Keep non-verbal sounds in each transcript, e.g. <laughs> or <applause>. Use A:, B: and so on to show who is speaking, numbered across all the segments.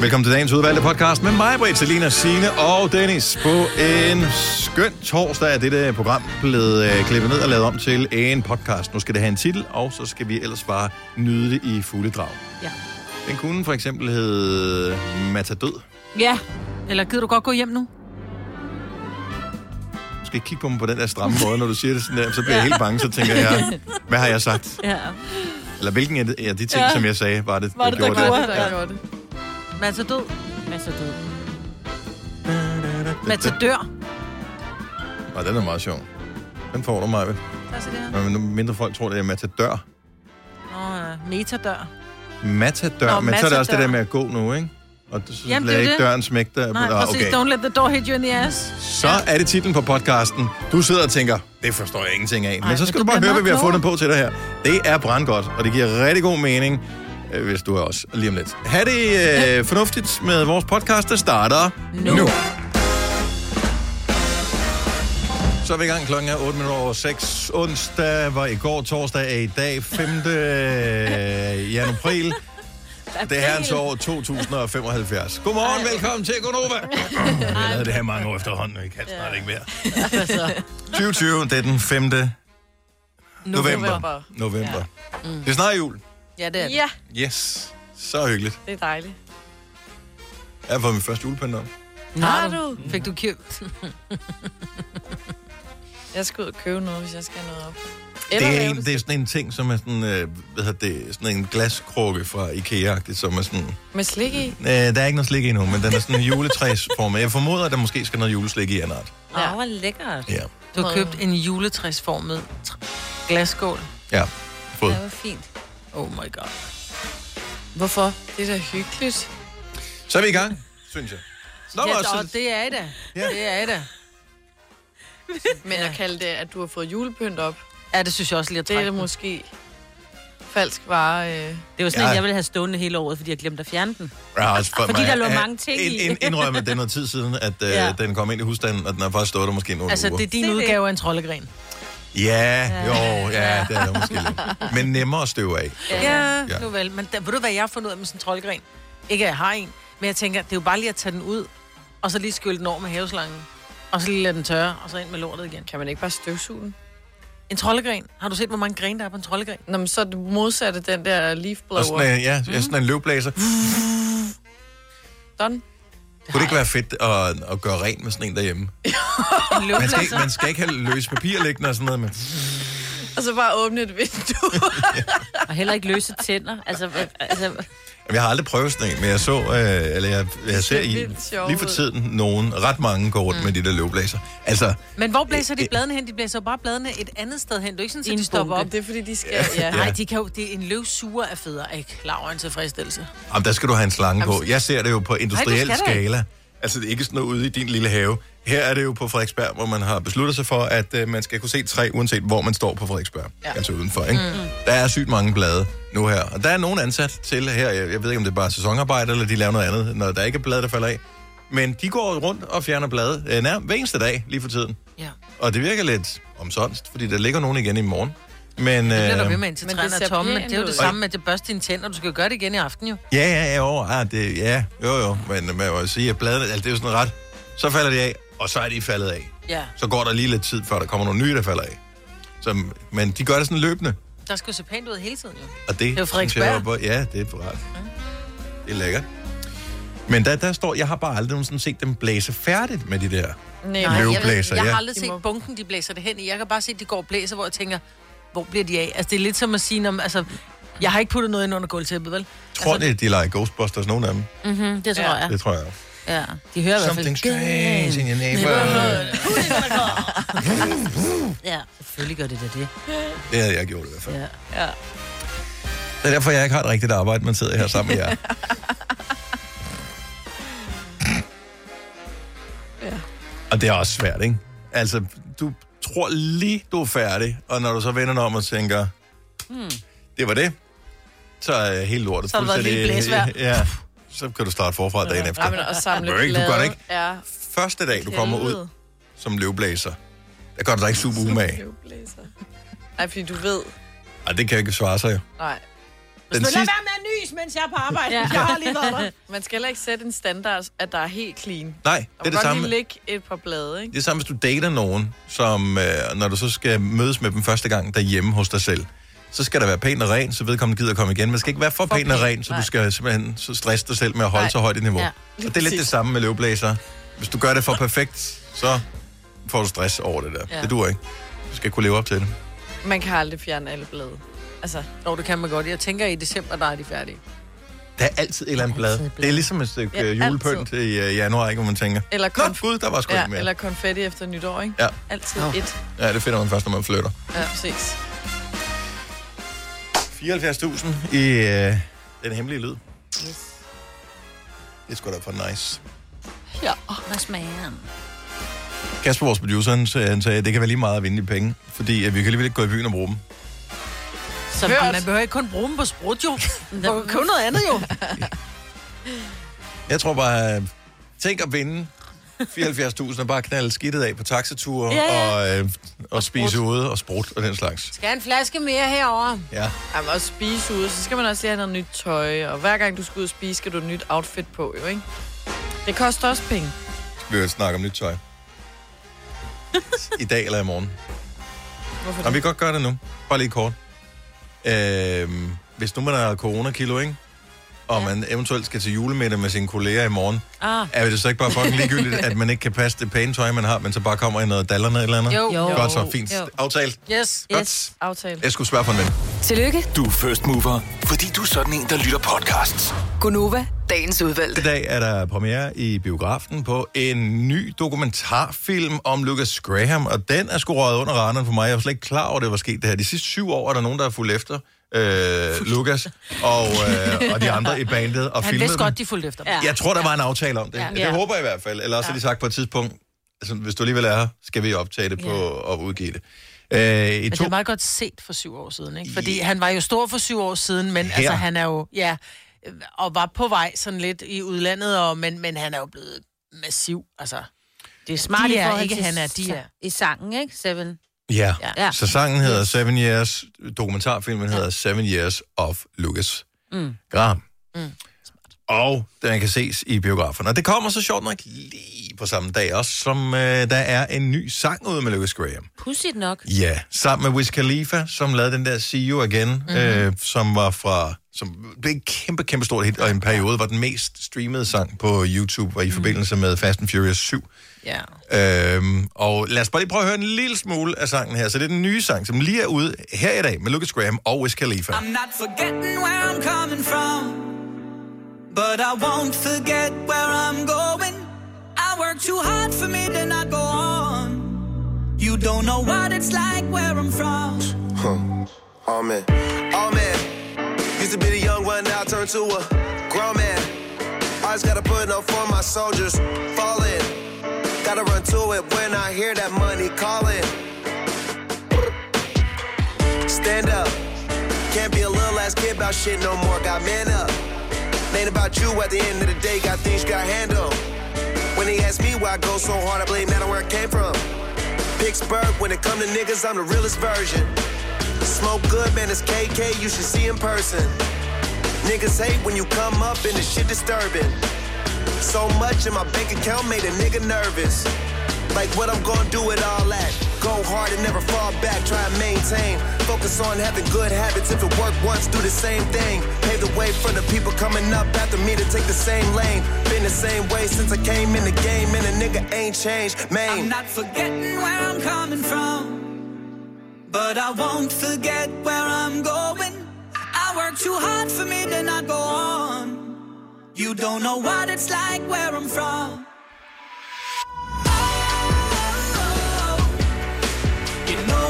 A: Velkommen til dagens udvalgte podcast med mig, Britt, Selina, Signe og Dennis. På en skøn torsdag er dette program blevet øh, klippet ned og lavet om til en podcast. Nu skal det have en titel, og så skal vi ellers bare nyde det i fulde drag.
B: Ja.
A: Den kunne for eksempel hedde Matadød.
B: Ja. Eller gider du godt gå hjem nu?
A: Du skal ikke kigge på mig på den der stramme måde, når du siger det sådan der, så bliver jeg helt bange, så tænker jeg, hvad har jeg
B: <laughs>
A: sagt?
B: Ja.
A: Eller hvilken af de, af de ting,
C: Ja.
A: som jeg sagde, var det,
C: Var det, der
A: gjorde
C: gjorde
A: det?
C: det? Der gjorde det.
B: Mads er død. Mads er død. Mads er dør.
A: Og den er meget sjov. Den får du mig ved. Men nu mindre folk tror, det er matadør.
B: Nå, ja. Metadør.
A: Matadør,
B: Nå,
A: men så er det også det
B: matadør.
A: der med at gå nu, ikke? Og så
B: Jamen,
A: Jamen,
B: det er
A: lader ikke
B: det.
A: døren smække dig.
B: Nej,
A: Nå,
B: præcis. Don't let the door hit you in the ass.
A: Så er det titlen på podcasten. Du sidder og tænker, det forstår jeg ingenting af. men så
B: men du
A: skal du bare
B: bliver
A: høre, hvad
B: meget
A: vi har fundet på til dig her. Det er brandgodt, og det giver rigtig god mening, øh, hvis du er også lige om lidt. Ha' det øh, fornuftigt med vores podcast, der starter nu.
B: Nu.
A: nu. Så er vi i gang. Klokken er 8 minutter over 6. Onsdag var i går. Torsdag er i dag. 5. januar. april.
B: <laughs>
A: Det er herrens år 2075. Godmorgen, velkommen til Gonova. Vi har lavet det her mange år efterhånden, og vi kan <laughs> snart ikke mere. 2020, det er den 5. november. November. november. Det er snart jul.
B: Ja, det er det.
C: Ja,
A: Yes. Så hyggeligt.
C: det er dejligt.
A: Jeg har fået min første julepynt op.
C: Har du?
B: Fik du købt?
C: <laughs> Jeg skal ud og købe noget, hvis jeg skal have noget op. Eller
A: Det er,
C: lave
A: en,
C: det.
A: det er sådan en ting, som er sådan, øh, hvad hedder det, sådan en glaskrukke fra ikea som er sådan...
C: Med slik i.
A: Øh, der er ikke noget slik endnu, men den er sådan en juletræsform. Jeg formoder, at der måske skal noget juleslik i en art.
B: Ja. Åh, hvor lækkert.
A: Ja.
B: Du har købt en juletræsformet tr- glasskål.
A: Ja. Fod.
D: Det var fint.
B: Oh my god.
C: Hvorfor? Det er da hyggeligt.
A: Så er vi i gang, synes jeg. Nå,
B: Ja,
A: ja,
B: og
A: også,
B: det er det.
A: Ja.
B: Det er det.
C: Men at kalde det, at du har fået julepynt op,
B: Ja, det synes jeg også lige at
C: det er
B: trække.
C: da
B: den.
C: måske falsk vare. Øh.
E: Det var sådan, ja.
A: Ja.
E: jeg ville have stående hele året, fordi jeg glemte at fjerne den.
A: ja, også for
E: Fordi
A: mig,
E: der lå
A: at-
E: mange ting
A: ind,
E: i.
A: ind, Indrømme, det er noget tid siden, at øh, ja.
E: Ja.
A: den kom ind i husstanden, og den har faktisk stået der måske nogle
B: Altså,
A: uger.
B: det er din
E: Se det.
B: udgave af en troldegren.
A: Ja, jo, ja, det er der måske lidt. Men nemmere at støve af.
B: Ja,
A: Ja.
B: ja. nu vel. Men der, ved du, hvad jeg har fundet ud af med sådan en troldgren? Ikke at jeg har en, men jeg tænker, det er jo bare lige at tage den ud, og så lige skylle den over med haveslangen, og så lige lade den tørre, og så ind med lortet igen.
C: Kan man ikke bare støvsuge den?
B: En troldegren. Har du set, hvor mange grene der er på en troldegren?
C: Nå, men så er det modsatte den der leaf
A: Og
C: blower. Mm.
A: sådan en, ja, ja,
C: Mhm.
A: sådan en løvblæser.
C: Done.
A: Kunne det ikke være fedt at, at gøre rent med sådan en derhjemme?
B: En
A: Man skal, ikke-
B: løbepladser.
A: man skal ikke have løs papir liggende og sådan noget, men
C: Og så bare åbne
B: <laughs>
C: et vindue.
E: Og heller ikke løse tænder. Altså, øh, altså
A: Jamen, Jeg har aldrig prøvet sådan en, men jeg så, øh, eller jeg, jeg ser i,
C: vildt sjovt
A: lige for
C: ud.
A: tiden nogen, ret mange går rundt mm. med de der løvblæser. Altså,
B: Men hvor blæser de
A: Øh,
B: bladene hen? De blæser jo bare bladene et andet sted hen. Det er jo ikke sådan,
E: I
B: at
E: en
B: de stopper
E: bunke.
B: op.
C: det er fordi, de skal... Ja.
B: Nej, de kan jo, det er en løv suger af fædre. Er I klar over en tilfredsstillelse?
A: jamen, der skal du have en slange på. Jeg ser det jo på industriel
B: Ej, det skal der
A: skala. Altså, det er ikke sådan noget ude i din lille have. Her er det jo på Frederiksberg, hvor man har besluttet sig for, at øh, man skal kunne se træ, uanset hvor man står på Frederiksberg. Ja. Altså udenfor, ikke? Mm. Der er sygt mange blade nu her. Og der er nogen ansat til her. Jeg, jeg ved ikke, om det er bare sæsonarbejde, eller de laver noget andet, når der ikke er blade, der falder af. Men de går rundt og fjerner blade øh, nær, hver eneste dag lige for tiden.
B: Ja.
A: Og det virker lidt omsonst, fordi der ligger nogen igen i morgen. Men,
B: Det bliver
A: øh,
B: der ved med indtil
C: Men det
B: træerne er
C: ser
B: tomme, men
C: pænt
B: det er jo
C: ud.
B: det samme med, at det børste dine tænder. Du skal jo gøre det igen i aften jo.
A: ja, ja, ja, jo, ah, det, ja, jo, jo, men man må jo sige, at bladene, altså, det er jo sådan ret, så falder de af, og så er de faldet af.
B: Ja.
A: Så går der lige lidt tid, før der kommer nogle nye, der falder af. Så, men de gør det sådan løbende,
B: Der skal jo se pænt ud hele tiden jo.
A: og det,
B: er jo
A: synes
B: Frederiksberg.
A: var på- ja, det er på rart. Det er lækkert. Men der, der står, jeg har bare aldrig nogensinde set dem blæse færdigt med de der.
C: Nej,
B: Nej, jeg, ved,
A: Løvblæser,
B: jeg
A: ja.
B: har aldrig set bunken, de blæser det hen i. Jeg kan bare se, at de går og blæser, hvor jeg tænker, hvor bliver de af? Altså, det er lidt som at sige, om, altså, jeg har ikke puttet noget ind under gulvtæppet, vel? mm-hmm,
A: Tror altså, det, de leger Ghostbusters, nogen af dem?
E: mm, det tror
B: Ja.
E: ja. jeg.
A: Det tror jeg.
E: Ja. De hører i hvert fald.
A: Something strange in your neighborhood.
E: Altså. Ja, <laughs> selvfølgelig gør det da det.
A: Det havde jeg gjort i hvert fald.
E: Ja.
C: Ja.
A: Det er derfor, jeg ikke har et rigtigt arbejde, men sidder her
C: <laughs>
A: sammen med jer.
C: Ja.
A: Og det er også svært, ikke? Altså, du tror lige, du er færdig, og når du så vender dig om og tænker, hmm. det var det, så er hele lortet
B: Så har det været et lille
A: fuldstændig- <laughs> Ja, så kan du starte forfra dagen efter.
C: Ja, men og samle
A: Må ikke, du gør
C: blade.
A: det ikke.
C: Ja.
A: Første dag, du kommer ud som løvblæser, der gør du dig ikke super umage.
C: Løvblæser. Nej, fordi du ved...
A: Ej, det kan jo ikke svare sig. jo.
C: Nej.
A: Den sidste,
B: med at nys, mens jeg er på arbejde.
E: Ja.
B: har lige været <laughs> der.
C: Man skal heller ikke sætte en standard, at der er helt clean. Det
A: nej,
C: er
A: det er det
C: godt
A: samme.
C: lige lægge et par blade, ikke?
A: Det er samme, hvis du dater nogen, som øh, når du så skal mødes med dem første gang derhjemme hos dig selv, så skal der være pæn og ren, så vedkommende gider komme igen. Man skal ikke være for,
E: For
A: pæn og
E: pæn,
A: ren, så
E: nej.
A: du skal simpelthen så stresse dig selv med at holde
E: Nej.
A: så højt et niveau.
E: Ja,
A: Ja,
C: lige
A: og det er lidt
C: præcis.
A: det samme med løveblæser. Hvis du gør det for perfekt, så får du stress over det der. Ja.
E: Ja.
A: Det duer ikke. Du skal kunne leve op til det.
C: Man kan aldrig fjerne alle blade. Altså,
B: Nå, det kan man godt. Jeg tænker, i december, der er de færdige.
A: Der er altid et eller andet blad. Det er ligesom et stykke
C: Ja,
A: ja, julepynt i øh, januar, ikke, hvor man tænker,
C: eller,
A: Nå,
C: konf-
A: gud, der var sgu ja, ikke
C: ja,
A: mere.
C: eller konfetti efter nytår, ikke?
A: Ja.
C: Altid
B: Nå.
C: et.
A: Ja, det finder man først, når man flytter.
C: Ja, præcis.
A: 74.000 i øh, den hemmelige lyd. Det er sgu da for nice.
C: Ja.
E: Hvad smager den?
A: Kasper, vores producer, han sagde, han sagde, at det kan være lige meget at vinde i penge, fordi at vi kan alligevel ikke gå i byen og bruge dem.
B: Så
C: Hørt.
B: man behøver ikke kun bruge dem på sprut, jo. <laughs> Man kan købe noget andet, jo.
A: Jeg tror bare, øh, tænk at vinde 74.000 og bare knalde skidtet af på taxature
E: Ja, ja.
A: og, øh, og spise ude og sprut og den slags.
B: Skal jeg en flaske mere herover?
A: Ja.
C: Jamen, og spise ude, så skal man også lige have noget nyt tøj. Og hver gang du skal ud og spise, skal du et nyt outfit på, jo, ikke? Det koster også penge.
A: Vi vil snakke om nyt tøj. I dag eller i morgen.
C: Hvorfor
A: Nå,
C: det?
A: vi kan godt gøre det nu. Bare lige kort. Øhm, hvis nu man har coronakilo, ikke? Og ja. man eventuelt skal til julemiddag med sine kolleger i morgen,
E: Ah,
A: er det så ikke bare fucking ligegyldigt, at man ikke kan passe det pæne tøj, man har, men så bare kommer i noget dallerne eller andet?
B: Jo.
E: Jo.
A: Godt så, fint.
E: Jo.
A: Aftalt.
B: Yes.
A: Godt.
C: Aftale.
A: Jeg skulle spørge for en ven.
D: Tillykke,
F: Du er first mover, fordi du er sådan en, der lytter podcasts.
D: Gunova, dagens udvalgte.
A: I dag er der premiere i biografen på en ny dokumentarfilm om Lucas Graham, og den er sgu røget under radaren for mig. Jeg var slet ikke klar over, at det var sket det her. De sidste syv år er der nogen, der er fulgt efter øh, Lucas og, øh, og de andre i bandet og
B: Han
A: filmet
B: vidste
A: dem.
B: godt, de fulgte efter. Ja.
E: Ja.
A: Jeg tror, der var en aftale om det. Ja.
E: Ja.
A: Det
E: Ja.
A: håber jeg i hvert fald. Eller også har de sagt på et tidspunkt, altså, hvis du alligevel er her, skal vi optage det på og udgive det. Øh, i
B: Men
A: to...
B: det var meget godt set for syv år siden, ikke? Fordi han var jo stor for syv år siden, men
A: Her.
B: altså, han er jo... Ja, øh, og var på vej sådan lidt i udlandet, og, men, men han er jo blevet massiv, altså.
E: det er smart
B: De
E: i
B: er
E: forhold
B: ikke
E: til
B: han er, de er.
E: I sangen, ikke? Seven.
A: Ja.
E: Ja.
A: Så sangen hedder Seven Years, dokumentarfilmen hedder Seven Years of Lucas mm. Graham. Mm. Og den kan ses i biograferne. Og det kommer så sjovt nok lige på samme dag også, som øh, der er en ny sang ude med Lucas Graham.
E: Pudsigt nok.
A: Ja, sammen med Wiz Khalifa, som lavede den der See You Again, mm-hmm. øh, som var fra som blev et kæmpe, kæmpe stort hit, og i en periode var den mest streamede sang på YouTube, var i forbindelse med Fast and Furious 7.
B: Ja.
A: Øhm, og lad os bare lige prøve at høre en lille smule af sangen her. Så det er den nye sang, som lige er ude her i dag med Lucas Graham og Wiz Khalifa.
G: I'm not forgetting where I'm coming from, but I won't forget where I'm going. I work too hard for me to not go on. You don't know what it's like where I'm from.
H: Oh man, oh man. Used to be the young one, now I turned to a grown man. I just gotta put up for my soldiers, fall in. Gotta run to it when I hear that money calling. Stand up, can't be a little ass kid about shit no more. Got man up. Ain't about you at the end of the day, got things you gotta handle. When they ask me why I go so hard, I blame that on where I came from. Pittsburgh, when it come to niggas, I'm the realest version. Smoke good, man, it's KK, you should see in person. Niggas hate when you come up and the shit disturbing. So much in my bank account made a nigga nervous. Like what I'm gonna do with all that. Go hard and never fall back, try and maintain. Focus on having good habits. If it work once, do the same thing. Pave the way for the people coming up after me to take the same lane. Been the same way since I came in the game, and a nigga ain't changed,
G: I'm
H: man.
G: not forgetting where I'm coming from, but I won't forget where I'm going. I work too hard for me to not go on. You don't know what it's like where I'm from.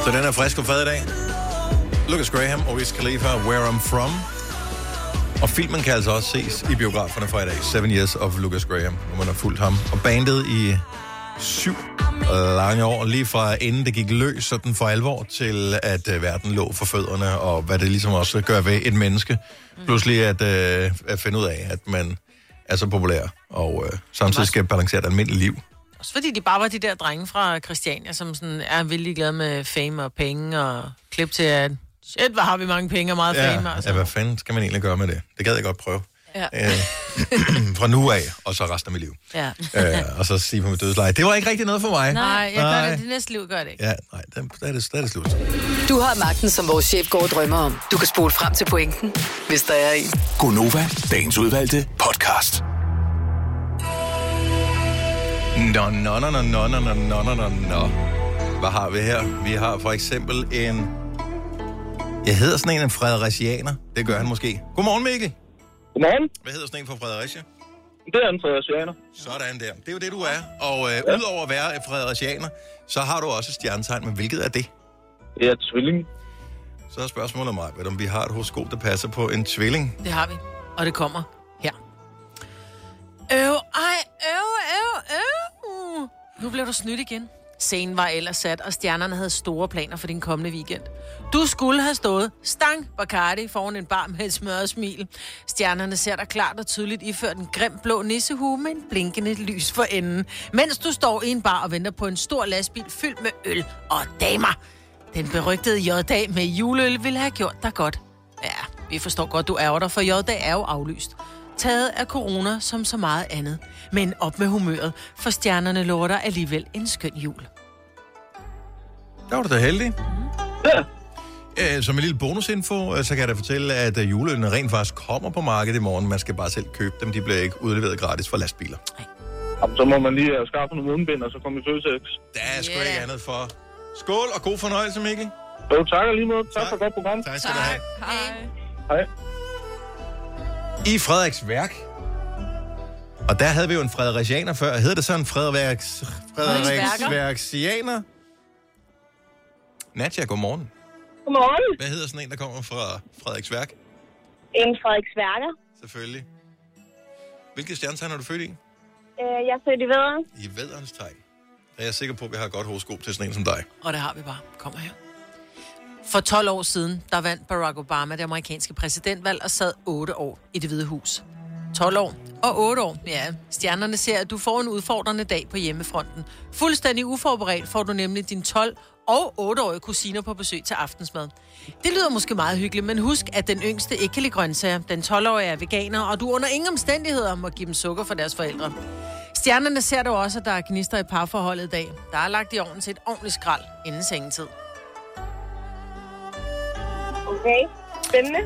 A: Så den er frisk og fad i dag. Lucas Graham og Wiz Khalifa, Where I'm From. Og filmen kan altså også ses i biograferne fra i dag. Seven Years of Lucas Graham, hvor man har fulgt ham. Og bandet i syv lange år, lige fra inden det gik løs sådan for alvor, til at øh, verden lå for fødderne, og hvad det ligesom også gør ved et menneske. Pludselig at, øh, at finde ud af, at man er så populær, og øh, samtidig skal balancere et almindeligt liv.
B: Også fordi de bare var de der drenge fra Christiania, som sådan er vildt glade med fame og penge og klip til at Shit, hvor har vi mange penge og meget
A: Ja,
B: fame, altså.
A: ja, hvad fanden skal man egentlig gøre med det? Det gad jeg godt prøve.
C: Ja.
A: Øh, <clears throat> fra nu af, og så resten af mit liv.
E: Ja.
A: Øh, og så sige på mit dødsleje, det var ikke rigtig noget for mig.
B: Nej, jeg gør
A: Nej.
B: det. Det næste liv gør jeg det ikke.
A: Ja, nej, der, der, er det, der er det slut.
D: Du har magten, som vores chef går og drømmer om. Du kan spole frem til pointen, hvis der er en.
F: Gonova, dagens udvalgte podcast.
A: Nå, nå, nå, nå, nå, nå, nå, nå, nå, nå, nå. Hvad har vi her? Vi har for eksempel en... Jeg hedder sådan en en fredericianer. Det gør han måske. Godmorgen, Mikkel.
I: Godmorgen.
A: Hvad hedder sådan en fra Fredericia?
I: Det er Andreas Janer.
A: Sådan der. Det er jo det, du er. Og øh, udover at være fredericianer, så har du også et stjernetegn. Men hvilket er det?
I: Det er tvilling.
A: Så er spørgsmålet mig, om vi har et horoskop, der passer på en tvilling.
B: Det har vi. Og det kommer her. Øv, ej, øv, øv, øv. Nu blev du snydt igen. Scenen var ellers sat, og stjernerne havde store planer for din kommende weekend. Du skulle have stået stang Bacardi foran en bar med et smørret smil. Stjernerne ser dig klart og tydeligt iført en grim blå nissehue med en blinkende lys for enden, mens du står i en bar og venter på en stor lastbil fyldt med øl og damer. Den berygtede J-dag med juleøl ville have gjort dig godt. Ja, vi forstår godt, du ærger dig, for J-dag er jo aflyst. Taget af corona som så meget andet. Men op med humøret, for stjernerne lover dig alligevel en skøn jul.
A: Der var du da heldig. Ja. Som en lille bonusinfo, øh, så kan jeg da fortælle, at øh, juleølene rent faktisk kommer på markedet i morgen. Man skal bare selv købe dem. De bliver ikke udleveret gratis fra lastbiler.
I: Jamen, så må man lige øh, skaffe nogle mundbind, og så komme i Føtex.
A: Der er sgu ikke andet for. Skål og god fornøjelse, Mikkel.
I: Jo, tak og lige måde. Tak, for et godt program.
A: Tak skal du have.
C: Hej.
I: Hej.
A: I Frederiks værk. Og der havde vi jo en fredericianer før. Hedder det så en Frederiks... Frederiksværksianer? Nadja, godmorgen.
J: Godmorgen.
A: Hvad hedder sådan en, der kommer fra Frederiks værk?
J: En Frederiks Værker.
A: Selvfølgelig. Hvilket stjernetegn er du født i?
J: Øh, jeg er født i Vedre.
A: I vederens tegn. Der er jeg sikker på, at vi har et godt horoskop til sådan en som dig.
B: Og det har vi bare. Kommer her. For 12 år siden, der vandt Barack Obama det amerikanske præsidentvalg og sad 8 år i det hvide hus. 12 år og 8 år, ja. Stjernerne ser, at du får en udfordrende dag på hjemmefronten. Fuldstændig uforberedt får du nemlig din 12 og 8-årige kusiner på besøg til aftensmad. Det lyder måske meget hyggeligt, men husk, at den yngste ikke kan lide grøntsager. Den 12-årige er veganer, og du under ingen omstændigheder må give dem sukker for deres forældre. Stjernerne ser du også, at der er gnister i parforholdet i dag. Der er lagt i ovnen til et ordentligt skrald inden sengetid.
J: Okay. Spændende.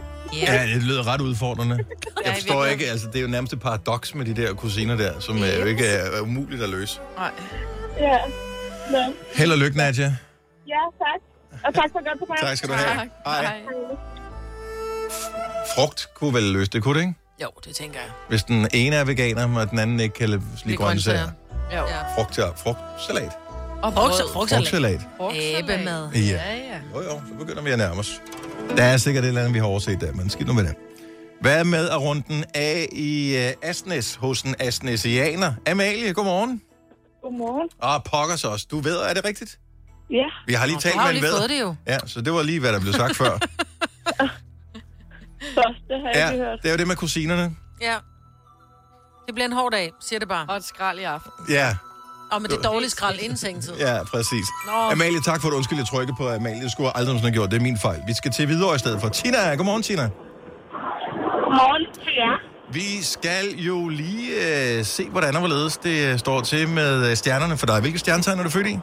A: Ja, det lyder ret
B: <laughs>
A: udfordrende. Jeg forstår ikke, altså det er jo nærmest et paradoks med de der kusiner der, som øh, jo ikke er er umuligt at løse.
C: Nej.
J: Ja. Nå.
A: Held og lykke, Nadja.
J: Ja, tak. Og tak for et godt program.
A: Tak skal du have. Hej.
C: Hej.
A: Frugt kunne vel løse det, kunne det ikke?
B: Jo, det tænker jeg.
A: Hvis den ene er veganer, og den anden ikke kan lide grøntsager.
C: Jo.
B: Ja.
A: Frugt, ja. Frugtsalat.
C: Og
B: Frugt,
C: brød.
B: frugt, frugt,
A: Frugtsalat.
B: Æblemad.
A: Ja.
C: Ja, ja.
A: Jo, jo, så begynder vi at nærme os. Der er sikkert et eller andet, vi har overset der, men skidt nu med det. Hvad med at runde den af i øh, Asnes hos en asnesianer? Amalie, godmorgen.
J: Godmorgen.
A: Og pokkers også. Du ved, er det rigtigt?
J: Ja.
A: Vi har lige
B: Nå,
A: talt
B: du har
A: med
B: jo
A: en
B: lige
A: ved.
B: fået det jo.
A: Ja, så det var lige, hvad der blev sagt før.
J: Så, det har jeg
A: Ja,
J: ikke hørt.
A: det er jo det med kusinerne.
B: Ja. Det bliver en hård dag, siger det bare.
C: Og et skrald i aften.
A: Ja,
B: Og med det dårlige skrald inden sengetid.
A: ja, præcis. Amalie, tak for at undskylde, jeg trykkede på Amalie. Det skulle jeg aldrig have gjort. Det er min fejl. Vi skal til videre i stedet for. Tina, godmorgen, Tina.
J: Godmorgen til jer.
A: Vi skal jo lige øh, se, hvordan og hvorledes det øh, står til med øh, stjernerne for dig. Hvilke stjernetegn er du født i?
J: Jeg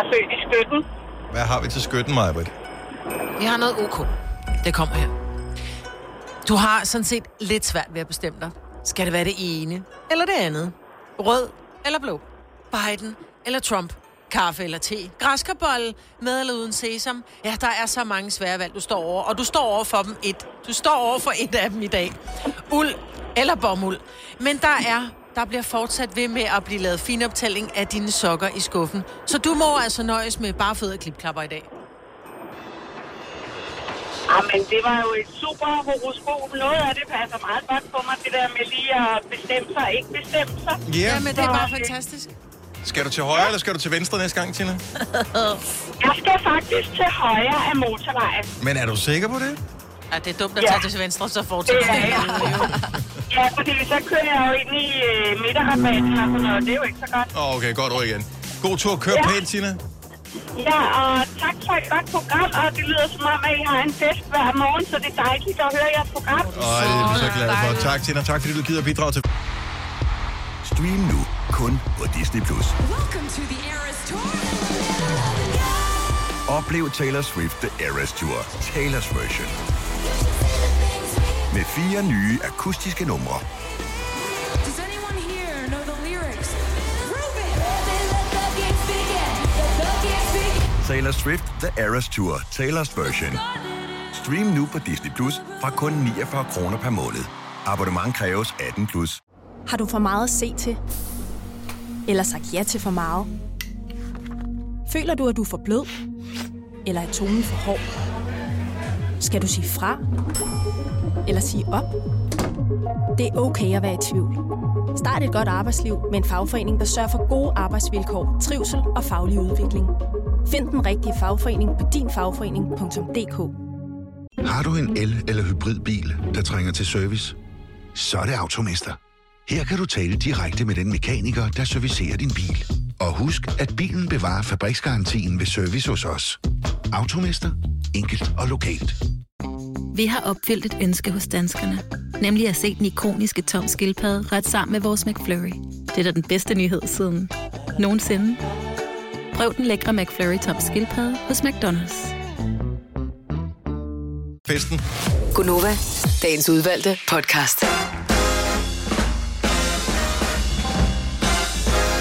J: er født i Støtten.
A: Hvad har vi til skytten, Majbrit?
B: Vi har noget OK. Det kommer her. Du har sådan set lidt svært ved at bestemme dig. Skal det være det ene eller det andet? Rød eller blå? Biden eller Trump? Kaffe eller te? Græskarbolle? Med eller uden sesam? Ja, der er så mange svære valg, du står over. Og du står over for dem et. Du står over for et af dem i dag. Uld eller bomuld. Men der er der bliver fortsat ved med at blive lavet finoptælling af dine sokker i skuffen. Så du må altså nøjes med bare fødder og klipklapper i dag.
J: Jamen, Ah, det var jo et super horoskop. Noget af det passer meget godt på mig, det der med lige at bestemme sig og ikke bestemme sig. øh,
A: Ja.
B: Jamen, det er bare fantastisk.
A: Skal du til højre, eller skal du til venstre næste gang, Tina?
J: Jeg skal faktisk til højre af motorvejen.
A: Men er du sikker på det?
B: Ja, det er dumt at
J: Ja.
B: tage til venstre, så fortsætter
J: Ja,
B: det.
J: ja. Ja, fordi så kører jeg jo ind i øh, midterrabatten og sådan noget. Det er jo ikke så godt.
A: Åh, Okay, godt ord igen. God tur. Kør
J: Ja.
A: pænt, Tina.
J: Ja, og tak for et godt program, og det lyder som om, at I har en fest hver morgen, så det er dejligt at høre jeres program.
A: Og det er vi så glade for. Tak, Tina. Tak, fordi du gider at bidrage til...
K: Stream nu kun på Disney+. Plus. Oplev Taylor Swift The Eras Tour, Taylor's version. Med fire nye akustiske numre. Taylor Swift The Eras Tour, Taylor's version. Stream nu på Disney Plus fra kun 49 kroner per måned. Abonnement kræves 18 plus.
L: Har du for meget at se til? Eller sagt ja til for meget? Føler du, at du er for blød? Eller er tonen for hård? Skal du sige fra? Eller sige op? Det er okay at være i tvivl. Start et godt arbejdsliv med en fagforening, der sørger for gode arbejdsvilkår, trivsel og faglig udvikling. Find den rigtige fagforening på dinfagforening.dk
M: Har du en el- eller hybridbil, der trænger til service? Så er det Automester. Her kan du tale direkte med den mekaniker, der servicerer din bil. Og husk, at bilen bevarer fabriksgarantien ved service hos os. Automester. Enkelt og lokalt.
N: Vi har opfyldt et ønske hos danskerne. Nemlig at se den ikoniske tom skildpadde ret sammen med vores McFlurry. Det er da den bedste nyhed siden nogensinde. Prøv den lækre McFlurry tom skildpadde hos McDonald's.
A: Festen.
D: Gunova, dagens udvalgte podcast.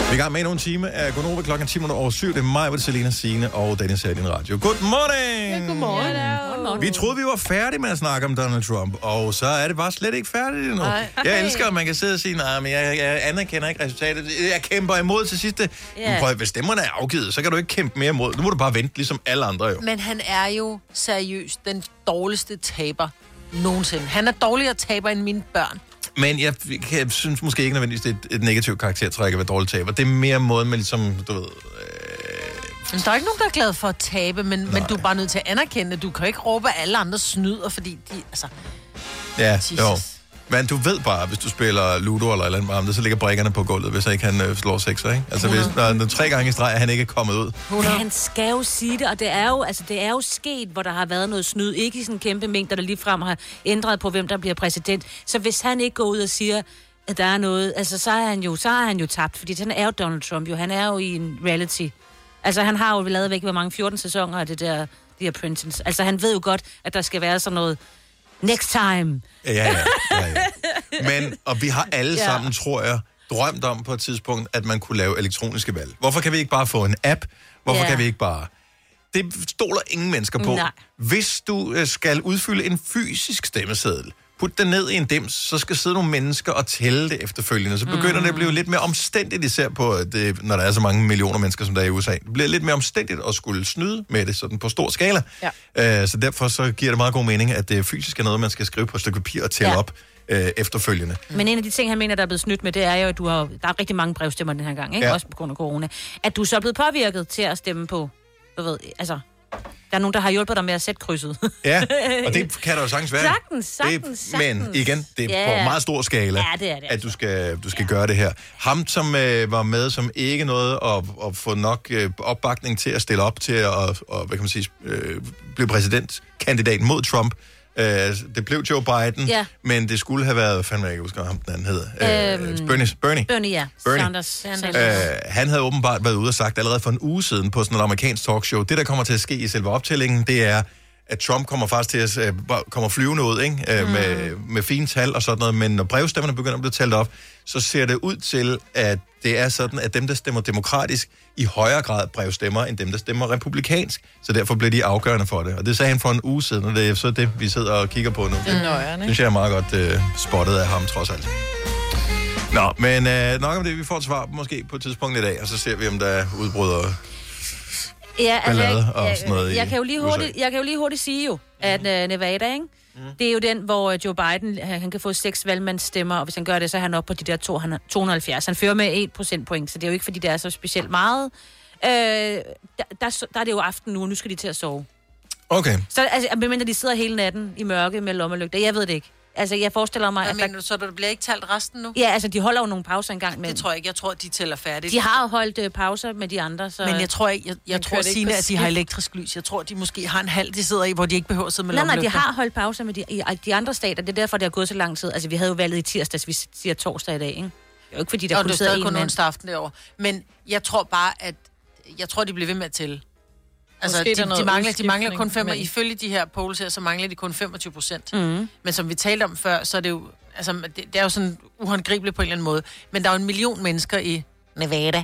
A: Vi er i gang med endnu en time af Gonova klokken 10 over 7. Det er mig, det Selina Signe og Dennis her i din radio. Good morning!
C: Godmorgen.
A: Vi troede, vi var færdige med at snakke om Donald Trump, og så er det bare slet ikke færdigt endnu.
C: Nej.
A: Jeg elsker, at man kan sidde og sige, nej, men jeg, jeg anerkender ikke resultatet. Jeg kæmper imod til sidste.
B: Ja.
A: Yeah. Prøv, at- hvis stemmerne er afgivet, så kan du ikke kæmpe mere imod. Nu må du bare vente, ligesom alle andre jo.
B: Men han er jo seriøst den dårligste taber nogensinde. Han er dårligere taber end mine børn.
A: Men jeg, kan- jeg synes måske ikke nødvendigvis, det er et, et negativt karaktertræk at være dårlig taber. Det er mere måden, man ligesom, du ved...
B: Men der er ikke nogen, der er glad for at tabe, men, men du er bare nødt til at anerkende, at du kan ikke råbe, at alle andre snyder, fordi de... Altså,
A: Ja,
B: Jesus.
A: Jesus. jo. Men du ved bare, hvis du spiller Ludo eller et eller andet med ham, så ligger brækkerne på gulvet, hvis ikke han øh, slår sekser, ikke? Altså, hvis, når, når tre gange i streg, er han ikke er kommet ud.
E: Men han skal jo sige det, og det er jo, altså, det er jo sket, hvor der har været noget snyd. Ikke i sådan en kæmpe mængde, der ligefrem har ændret på, hvem der bliver præsident. Så hvis han ikke går ud og siger, at der er noget, altså, så har han jo, så har han jo tabt, fordi han er jo Donald Trump jo. Han er jo i en reality. Altså, han har jo lavet væk, hvor mange 14 sæsoner af det der The Apprentice. Altså, han ved jo godt, at der skal være sådan noget next time.
A: Ja, ja, ja, ja. Men, og vi har alle
E: Ja.
A: ja. sammen, tror jeg, drømt om på et tidspunkt, at man kunne lave elektroniske valg. Hvorfor kan vi ikke bare få en app? Hvorfor
O: Ja.
A: ja. kan vi ikke bare... Det stoler ingen mennesker på.
O: Nej.
A: Hvis du øh, skal udfylde en fysisk stemmeseddel, put den ned i en dims, så skal sidde nogle mennesker og tælle det efterfølgende. Så begynder mm. det at blive lidt mere omstændigt, især på, øh, det, når der er så mange millioner mennesker, som der er i USA. Det bliver lidt mere omstændigt at skulle snyde med det sådan på stor skala. Ja. Øh, så derfor så giver det meget god mening, at det fysisk er noget, man skal skrive på et stykke papir og tælle
E: Ja.
A: ja. op øh, efterfølgende.
E: Men en af de ting, han mener, der er blevet snydt med, det er jo, at du har, der er rigtig mange brevstemmer den her gang, ikke? Ja.
A: Ja.
E: også på grund af corona, at du så er blevet påvirket til at stemme på, du ved, altså, der er nogen, der har hjulpet dig med at sætte krydset.
A: Ja, og det
E: <laughs>
A: kan der jo sagtens være.
E: Sagtens, sagtens,
A: det, Men
E: sagtens.
A: igen, det er
E: Ja,
A: på
E: ja.
A: meget stor skala,
E: Ja, det altså. er det
A: at du skal, du skal gøre det her. Ham, som øh, var med, som ikke nåede at, at få nok øh, opbakning til at stille op til at og, hvad kan man sige, øh, blive præsidentkandidat mod Trump, øh, det blev Joe Biden,
E: Ja.
A: men det skulle have været, fandme jeg ikke husker, hvad ham den anden hed.
E: Øhm,
A: Øh, Bernie. Bernie.
E: <laughs> Bernie, ja.
A: Bernie.
E: Sanders. Sanders.
A: Øh, han havde åbenbart været ude og sagt allerede for en uge siden på sådan et amerikansk talkshow, det der kommer til at ske i selve optællingen, det er, at Trump kommer faktisk til at øh, bare kommer flyvende ud ikke? Øh, med, med fine tal og sådan noget, men når brevstemmerne begynder at blive talt op, så ser det ud til, at det er sådan, at dem, der stemmer demokratisk, i højere grad brevstemmer, end dem, der stemmer republikansk. Så derfor bliver de afgørende for det. Og det sagde han for en uge siden, og det er så det, vi sidder og kigger på nu.
C: Det er nøjeren,
A: Synes
C: ikke?
A: jeg er meget godt øh, spottet af ham, trods alt. Nå, men øh, nok om det. Vi får et svar måske på et tidspunkt i dag, og så ser vi, om der udbryder...
E: Ja, altså,
A: Ballade og sådan noget i
E: jeg, kan jo lige
A: USA.
E: hurtigt, jeg kan jo lige hurtigt sige jo, at uh, Nevada, ikke? Mm. Det er jo den, hvor øh, Joe Biden, han han kan få seks valgmandsstemmer, og hvis han gør det, så er han oppe på de der to- han- 270. Han fører med 1 procentpoint, så det er jo ikke, fordi det er så specielt meget. Øh, der, der, er så- der er det jo aften nu, og nu skal de til at sove.
A: Okay.
E: Så altså, medmindre de sidder hele natten i mørke med lommelygter. Jeg ved det ikke. Altså, jeg forestiller mig,
B: Hvad
E: at der...
B: mener du så, der bliver ikke talt resten nu?
E: Ja, altså, de holder jo nogle pauser engang imellem.
B: Det tror jeg ikke. Jeg tror, de tæller færdigt.
E: De har jo holdt øh, pauser med de andre, så...
B: Men jeg tror ikke, jeg,
E: Man
B: jeg
E: kører
B: tror
E: det ikke
B: Signe,
E: på
B: at de har
E: skift.
B: elektrisk lys. Jeg tror, de måske har en halv, de sidder i, hvor de ikke behøver at sidde med
E: Nej, nej, de
B: lommelygter.
E: har holdt pauser med de, i de andre stater. Det er derfor, det har gået så lang tid. Altså, vi havde jo valget i tirsdags, vi siger torsdag i dag, ikke? Det er jo ikke, fordi der
B: Og
E: kun
B: det er
E: sidder
B: stadig
E: en
B: kun
E: mand.
B: onsdag aften derovre. Men jeg tror bare, at... Jeg tror, de bliver ved med at tælle. Altså,
C: Måske
B: de,
C: der er noget
B: de, mangler, de mangler kun
C: udskiftning
B: fem, og
C: mellem.
B: ifølge de her polls her, så mangler de kun 25 procent.
E: Mhm.
B: Men som vi talte om før, så er det jo, altså, det, det er jo sådan uhåndgribeligt på en eller anden måde. Men der er jo en million mennesker i Nevada,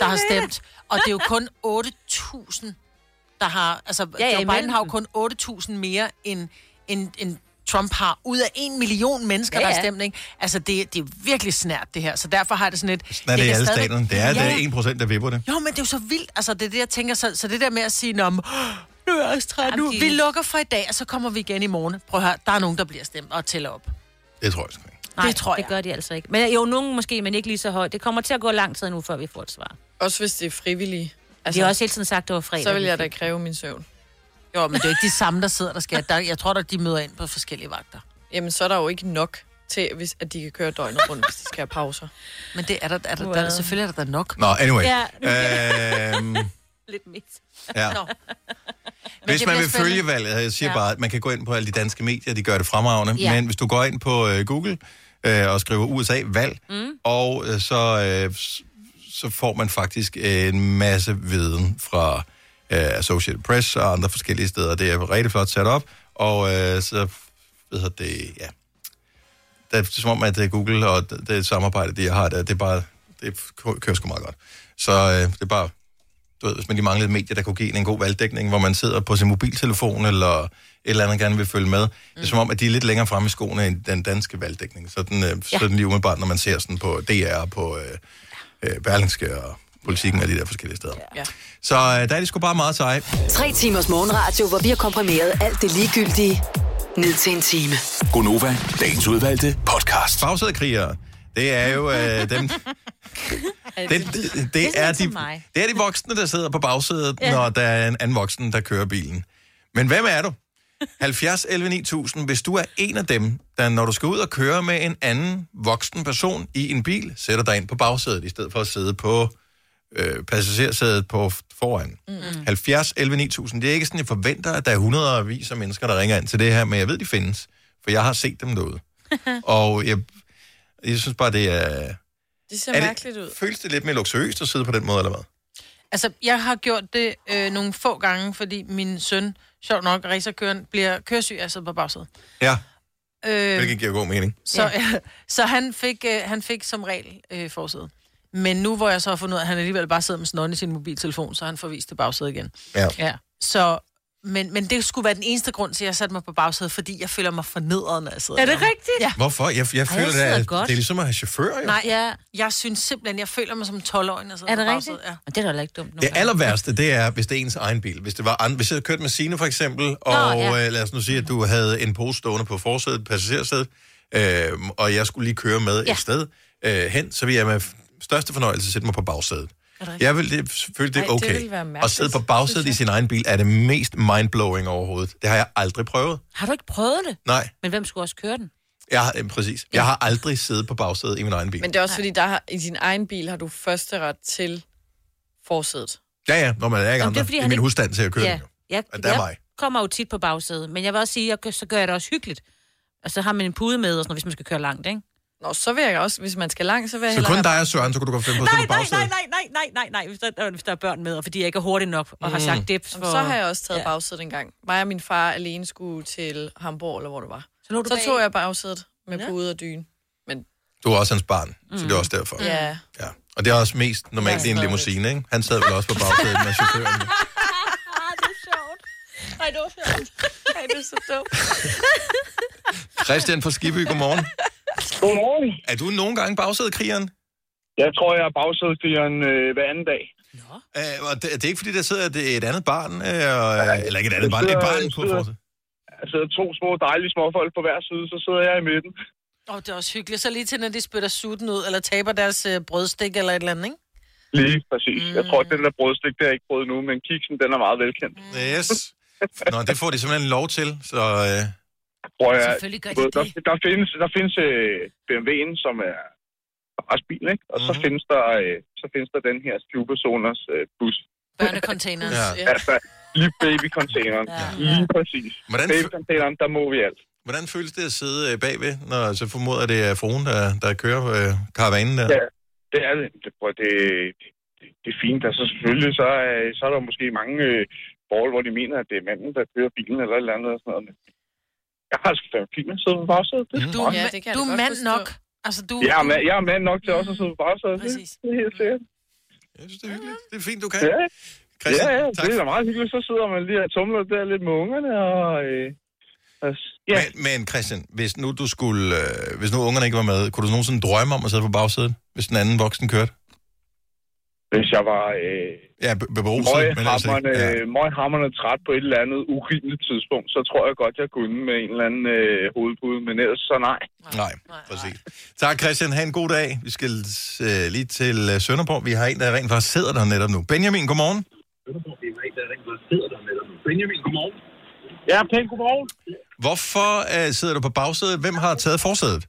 B: der har stemt. Og det er jo kun 8.000, der har... Altså, ja,
E: Ja, ja,
B: ja, Joe Biden
E: imellem
B: har jo kun 8.000 mere, end, end, end Trump har. Ud af en million mennesker, ja,
E: Ja,
B: ja. der
E: ja.
B: har stemt, ikke? Altså, det, det er virkelig snært, det her. Så derfor har jeg det sådan lidt...
A: Sådan er det i
B: kan
A: alle
B: stadigvæk-
A: staterne. Det er,
B: Ja,
A: ja.
B: ja.
A: det er 1%, der vipper det.
B: Jo, men det er jo så vildt. Altså, det er det, jeg tænker. Så, så det der med at sige, Nå, men, "Åh, nu er jeg også træt nu. Vi lukker for i dag, og så kommer vi igen i morgen. Prøv at høre, der er nogen, der bliver stemt og tæller op.
A: Det tror jeg sgu ikke.
E: Nej,
B: det tror
E: det
B: jeg.
E: gør de altså ikke. Men jo, nogen måske, men ikke lige så højt. Det kommer til at gå lang tid nu, før vi får et svar.
C: Også hvis det er frivillige.
E: Altså, de har også hele tiden sagt, at det var fredag.
C: så vil jeg
E: vi
C: da
E: fik.
C: kræve min søvn.
B: Jo, men det er jo ikke de samme, der sidder der skal. Der, jeg tror, at de møder ind på forskellige vagter.
C: Jamen, så er der jo ikke nok til, hvis, at de kan køre døgnet rundt, hvis de skal have pauser.
B: <laughs> Men det er der, er der, der, der selvfølgelig er der, der nok.
A: Nå, anyway.
C: Ja.
A: Øhm,
E: Lidt
B: <laughs>
E: mest.
A: Ja.
B: Nå.
A: hvis
B: det bliver
A: man
B: spændende.
A: vil følge valget, jeg siger
B: Ja.
A: ja. bare, at man kan gå ind på alle de danske medier, de gør det fremragende.
B: Ja.
A: Ja. Men hvis du går ind på øh, Google øh, og skriver USA valg,
B: Mm.
A: og øh, så, øh, s- så får man faktisk øh, en masse viden fra øh, Associated Press og andre forskellige steder. Det er rigtig flot sat op, og øh, så ved jeg det, ja. Det er som om, at øh, Google og det, det samarbejde, de har, det, det er bare, det kører sgu meget godt. Så øh, det er bare du ved, hvis man lige manglede medier, der kunne give en, en god valgdækning, hvor man sidder på sin mobiltelefon eller et eller andet gerne vil følge med. Mm. Det er som om, at de er lidt længere fremme i skoene end den danske valgdækning. Sådan, øh,
E: Ja.
A: ja. sådan lige umiddelbart, når man ser sådan på DR, på øh, øh, Berlingske og politikken og de der forskellige steder.
E: Ja.
A: Så øh, der er de sgu bare meget seje.
D: Tre timers morgenradio, hvor vi har komprimeret alt det ligegyldige ned til en time.
A: Gonova, dagens udvalgte podcast. Bagsædekrigere, det er jo øh, dem... Det, det, det, er Altså, de, det er de voksne, der sidder på bagsædet,
E: Ja.
A: ja. når der er en anden voksen, der kører bilen. Men hvem <laughs> er du? 70 11 9000, hvis du er en af dem, der når du skal ud og køre med en anden voksen person i en bil, sætter dig ind på bagsædet, i stedet for at sidde på øh, passagersædet på f- foran. Mm. 70 11 9000, det er ikke sådan, jeg forventer, at der er hundredvis af mennesker, der ringer ind til det her, men jeg ved, de findes, for jeg har set dem derude. og jeg, jeg synes bare, det er...
C: Det ser
A: Er det-
C: mærkeligt ud.
A: Føles det lidt mere luksuriøst at sidde på den måde, eller hvad?
B: Altså, jeg har gjort det øh, nogle få gange, fordi min søn, sjov nok, racerkøren, bliver køresyg af at sidde på bagsædet.
A: Ja,
B: Øh,
A: hvilket giver god mening.
B: Så, ja. <laughs> så han, fik, øh, han fik som regel øh, forsædet. Men nu hvor jeg så har fundet ud af, at han alligevel bare sidder med snøren i sin mobiltelefon, så er han forvist til bagsædet igen.
A: Ja.
B: ja. Så, men, men det skulle være den eneste grund til, at jeg satte mig på bagsædet, fordi jeg føler mig fornedret, når jeg sidder der.
E: rigtigt?
B: Ja.
A: Hvorfor? Jeg, jeg
B: Ej,
A: føler,
B: jeg
A: det,
B: sidder
A: er,
B: godt.
A: det er ligesom at have chauffør, jo.
B: Nej, ja. jeg synes simpelthen, jeg føler mig som 12-årig, når jeg sidder
E: Er det
B: på
E: rigtigt?
B: bagsædet. Ja.
E: Og det er da heller ikke dumt.
A: Det aller værste, det er, hvis det er ens egen bil. Hvis, det var andre, hvis jeg havde kørt med Signe for eksempel, og Nå,
E: ja.
A: ja. øh, lad os nu sige, at du havde en pose stående på forsædet, passagersædet, øh, og jeg skulle lige køre med ja.
E: Ja.
A: et sted øh, hen, så ville jeg med f- største fornøjelse sætte mig på bagsædet. Jeg vil det, føle, det
C: Ej,
A: er
C: det
A: okay.
C: ville være mærkeligt,
A: at sidde på bagsædet i sin egen bil er det mest mindblowing overhovedet. Det har jeg aldrig prøvet.
E: Har du ikke prøvet det?
A: Nej,
E: Men hvem skulle også køre den?
A: jeg har, øh, præcis. Jeg har aldrig siddet på bagsædet i min egen bil.
C: Men det er også fordi, der har, i din egen bil har du første ret til forsædet.
A: Ja, ja, når man er ikke
E: Jamen, det
A: andre.
E: er,
A: Det
E: fordi
A: er,
E: han
A: min
E: ikke-
A: husstand til at køre
E: ja.
A: den, jo.
E: Jeg,
A: Og der er
E: jeg
A: mig.
E: kommer jo tit på bagsædet, men jeg vil også sige, at jeg, så gør jeg det også hyggeligt. Og så har man en pude med, og sådan, noget, hvis man skal køre langt, ikke?
C: Nå, så vil jeg også, hvis man skal langt, så vil jeg
A: Så kun
C: hellere...
A: dig og Søren, så kunne du godt finde på at sidde på
E: Nej,
A: bagsædet.
E: nej, nej, nej, nej, nej, nej, hvis der, hvis der er børn med, og fordi jeg ikke er hurtig nok og har
A: Mm.
E: sagt dips
C: Jamen,
E: for...
C: Så har jeg også taget ja. bagsædet en gang. Mig og min far alene skulle til Hamburg, eller hvor det var.
E: Så, du
C: så
E: bag-
C: tog jeg bagsædet med ja. pude og dyne.
A: Du er også hans barn, mm. så det er også derfor.
C: Ja.
A: ja. Og det er også mest normalt i en limousine, ikke? Han sad vel også på bagsædet med
E: <laughs>
A: chaufføren.
C: Ej, det var
E: <laughs>
C: sjovt. Ej, det er så
B: <laughs>
C: dumt.
A: Christian fra Skibby, godmorgen.
I: Godmorgen.
A: Er du nogle gange bagsædekrigeren?
I: Jeg tror, jeg er bagsædekrigeren øh, hver anden dag.
A: Øh, og det, det er ikke fordi, der sidder et, et andet barn, øh, og- eller ikke et andet barn, et barn på forsædet.
I: øh, Jeg sidder to små dejlige småfolk på hver side, så sidder jeg i midten.
B: Og det er også hyggeligt. Så lige til, når de spytter sutten ud, eller taber deres øh, brødstik eller et eller andet, ikke?
I: Lige præcis. Mm. Jeg tror, at den der brødstik, det har jeg ikke prøvet nu, men kiksen, den er meget velkendt.
A: Yes. Nå, det får de simpelthen lov til, så øh,
I: Prøv at,
E: Selvfølgelig gør de
I: der, der findes, der findes øh, BMW'en, som er deres bil, ikke? Og mm-hmm. så,
A: Mhm.
I: findes der, øh, så findes der den her Stube-Zoners øh, bus.
B: Børnecontainers.
I: Ja. Altså, lige babycontaineren. Ja. Lige præcis.
A: Hvordan-
I: Babycontaineren, der må vi alt.
A: Hvordan føles det at sidde øh, bagved, når så formoder jeg, det er fruen, der, der kører øh, karavanen der?
I: Ja, det er det. Det, prøv, at- det, det, det er fint. Altså selvfølgelig, så er, så er der jo måske mange øh, borgere, hvor de mener, at det er manden, der kører bilen eller et eller andet. Og sådan noget. Men jeg har sgu da en fint med at sidde på bagsædet. Det er
B: Du,
I: fint.
B: Mm. ja, det kan du er mand nok. Altså, du,
I: jeg, er
B: du-
I: mand, jeg er mand nok
B: Mm.
I: til også at sidde på bagsædet. Det, det er helt sikkert.
A: Jeg synes, det er hyggeligt. Det er fint, du kan.
I: Ja,
A: Christian,
I: ja, ja
A: tak
I: det er
A: for-
I: da meget hyggeligt. Så sidder man lige og tumler der lidt med ungerne. Og, øh, altså,
A: Ja. Men, men Christian, hvis nu du skulle, øh, hvis nu ungerne ikke var med, kunne du nogensinde drømme om at sidde på bagsædet, hvis den anden voksen kørte?
I: Hvis jeg var... Øh,
A: ja, be- beruset. men altså ikke-
I: møghamrende,
A: ja.
I: altså møghamrende træt på et eller andet urimeligt tidspunkt, så tror jeg godt, jeg kunne med en eller anden øh, hovedpude, men ellers så nej.
A: Nej, præcis. Tak Christian, ha' en god dag. Vi skal øh, lige til øh, Sønderborg. Vi har en, der rent faktisk sidder der netop nu. Benjamin, godmorgen.
I: Benjamin, godmorgen. Ja, pænt godmorgen.
A: Hvorfor øh, sidder du på bagsædet? Hvem har taget forsædet?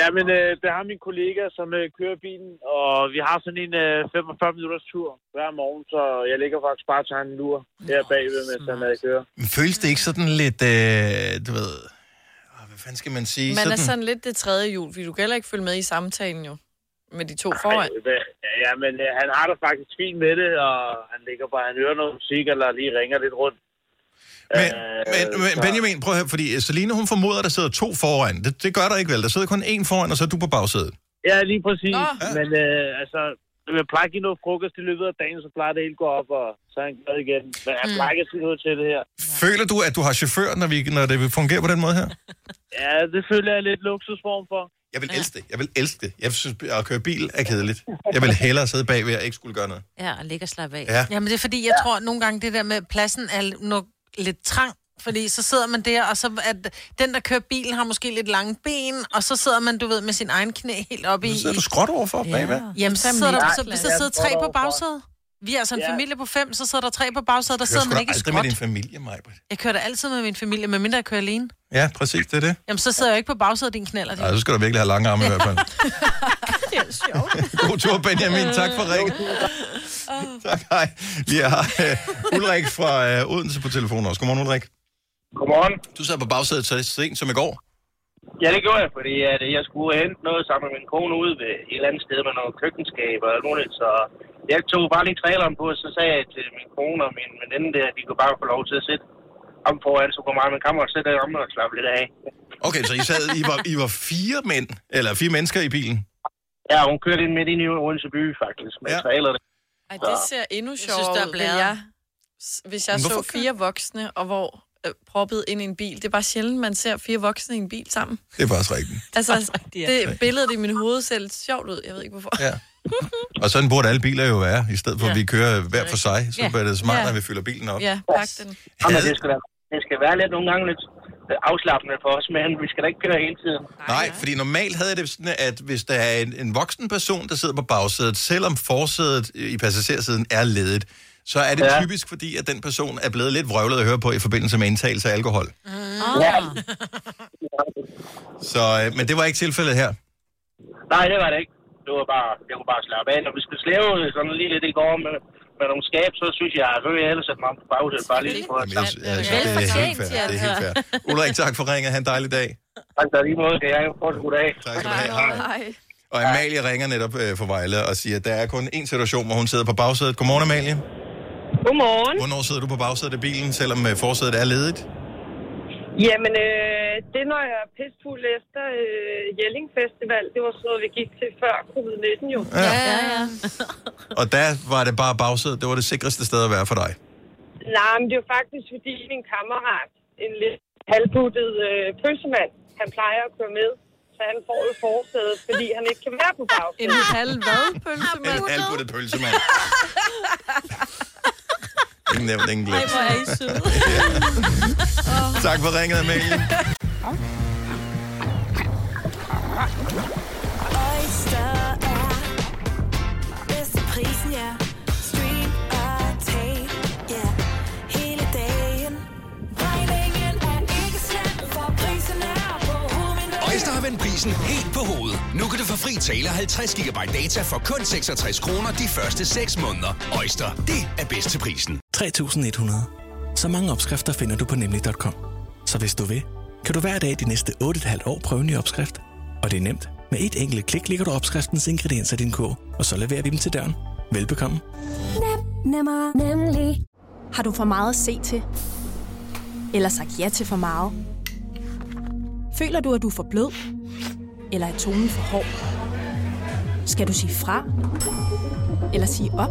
O: Ja, men øh, det har min kollega, som øh, kører bilen, og vi har sådan en øh, 45 minutters tur hver morgen, så jeg ligger faktisk bare og tager en lur her bagved, mens han er i kører.
A: Føles det ikke sådan lidt, øh, du ved... åh, Hvad fanden skal man sige?
C: Man er sådan lidt det tredje hjul, fordi du kan heller ikke følge med i samtalen jo. Med de to foran.
O: Ej, hvad- Ja, men øh, han har det faktisk fint med det, og han ligger bare, han hører noget musik, eller lige ringer lidt rundt.
A: Men, men, men Benjamin, prøv at høre, fordi øh, Celine, hun formoder, der sidder to foran. Det, det gør der ikke vel. Der sidder kun én foran, og så er du på bagsædet.
O: Ja, lige præcis. Nå. Men øh, altså, jeg plejer at give noget frokost i løbet af dagen, så plejer det hele at gå op, og så er han glad igen. Men jeg plejer ikke at sige noget til det her.
A: Føler du, at du har chauffør, når, vi, når det fungerer på den måde her?
O: Ja, det føler jeg er lidt luksusform for.
A: Jeg vil elske det. Jeg vil elske det. Jeg synes, at køre bil er kedeligt. Jeg vil hellere sidde bagved og ikke skulle gøre noget.
E: Ja, og ligge og slappe af.
A: Ja.
B: Jamen, det er fordi, jeg tror at nogle gange, det der med pladsen er l- nok lidt trang. Fordi så sidder man der, og så at den, der kører bilen, har måske lidt lange ben, og så sidder man, du ved, med sin egen knæ helt oppe i...
A: Så sidder du skråt overfor ja. bagved.
B: Jamen, så sidder der, så, så sidder tre på
O: overfor.
B: bagsædet. Vi er altså en
O: Ja.
B: ja. familie på fem, så sidder der tre på bagsædet, der sidder man ikke i
A: aldrig med
B: skråt.
A: din familie, Majbert.
B: Jeg kører da altid med min familie, medmindre jeg kører alene.
A: Ja, præcis, det er det.
B: Jamen, så sidder jeg jo ikke på bagsædet, din knæller.
A: Ej, så skal du virkelig have lange arme i <laughs> hvert fald.
B: <laughs> det er sjovt.
A: God tur, Benjamin. Tak for ringen. <laughs> Tak, hej. Vi har uh, Ulrik fra uh, Odense på telefonen også. Godmorgen, Ulrik.
O: Godmorgen.
A: Du sad på bagsædet så sent som i går.
O: Ja, det gjorde jeg, fordi at jeg skulle hente noget sammen med min kone ude ved et eller andet sted med noget køkkenskab og alt muligt, så jeg tog bare lige traileren på, og så sagde jeg til min kone og min veninde der, at de kunne bare få lov til at sætte om foran, så kunne mig og min kammerat sætte om og slappe lidt af.
A: Okay, så I, sad, I, var, I var fire mænd, eller fire mennesker i bilen.
O: Ja, hun kørte ind midt ind i Odense by, faktisk, med ja. trailer.
C: Ej, det ser endnu
B: synes,
C: sjovere
B: der er
C: ud, vil
B: blæret.
C: jeg. s- Hvis jeg
B: Men
C: så
B: hvorfor
C: fire voksne, og hvor øh, proppet ind i en bil. Det er bare sjældent, man ser fire voksne i en bil
E: <laughs>
C: sammen.
A: Det er faktisk rigtigt.
C: Altså,
E: ja.
C: det billedet i min hoved ser lidt sjovt ud. Jeg ved ikke, hvorfor.
A: Ja. Og sådan burde alle biler jo være, i stedet for at vi kører hver for sig. Så
C: Ja.
A: bliver det smart,
C: Ja.
A: at vi fylder bilen op.
C: Ja, pak den.
O: Jamen, det skal, være, det skal være lidt nogle gange lidt øh, afslappende for os, men vi skal da ikke køre hele tiden.
A: Nej, fordi normalt havde jeg det sådan, at hvis der er en, en voksen person, der sidder på bagsædet, selvom forsædet øh, i passagersiden er ledigt, så er det ja.
O: Ja.
A: typisk fordi, at den person er blevet lidt vrøvlet at høre på i forbindelse med indtagelse af alkohol.
C: Ah.
O: Ja.
A: Så, øh, men det var ikke tilfældet her.
O: Nej, det var det ikke. Det var bare, jeg kunne bare slappe af. Når vi skulle slæve øh, sådan lige lidt i går med, med nogle skab, så synes jeg, at så vil jeg hellere sætte mig på bagsædet bare lige for at slappe
A: Ja, det er helt fair. Det er helt fair. Ulrik, tak for ringet. Ha' en dejlig dag.
O: Tak, der er lige måde. Kan jeg få en god dag.
A: Tak skal du have. Hej. Og Amalie ringer netop øh, for Vejle og siger, at der er kun én situation, hvor hun sidder på bagsædet. Godmorgen, Amalie.
P: Godmorgen.
A: Hvornår sidder du på bagsædet af bilen, selvom øh, forsædet er ledigt?
P: Jamen, øh, det er, når jeg er pissfuld efter øh, Jelling Festival, det var sådan noget, vi gik til før covid-19 jo. Ja, ja, ja.
A: Og der var det bare bagsædet. Det var det sikreste sted at være for dig.
P: Nej, men det er jo faktisk, fordi min kammerat, en lidt halvbuttet øh, pøssemand, han plejer at køre med, så han får jo forsædet, fordi han ikke kan være på bagsædet. En halv hvad, pølsemand?
A: En albuttet
P: <laughs>
A: pølsemand. Ingen nævnt, ingen glemt.
P: hvor er I søde.
Q: <laughs>
A: Tak for ringet, Amalie.
Q: <laughs> Oyster er bedst til prisen, ja. Stream og tag, ja. Hele dagen. Regningen er ikke slem.
F: vend prisen helt på hovedet. Nu kan du få fri tale 50 GB data for kun 66 kroner de første 6 måneder. Øjster, det er bedst til prisen.
R: 3.100. Så mange opskrifter finder du på nemlig.com. Så hvis du vil, kan du hver dag de næste 8,5 år prøve en ny opskrift. Og det er nemt. Med et enkelt klik ligger du opskriftens ingredienser i din kog, og så leverer vi dem til døren. Velbekomme.
L: Nem, nemmer, nemlig. Har du for meget at se til? Eller sagt ja til for meget? Føler du, at du er for blød? Eller er tonen for hård? Skal du sige fra? Eller sige op?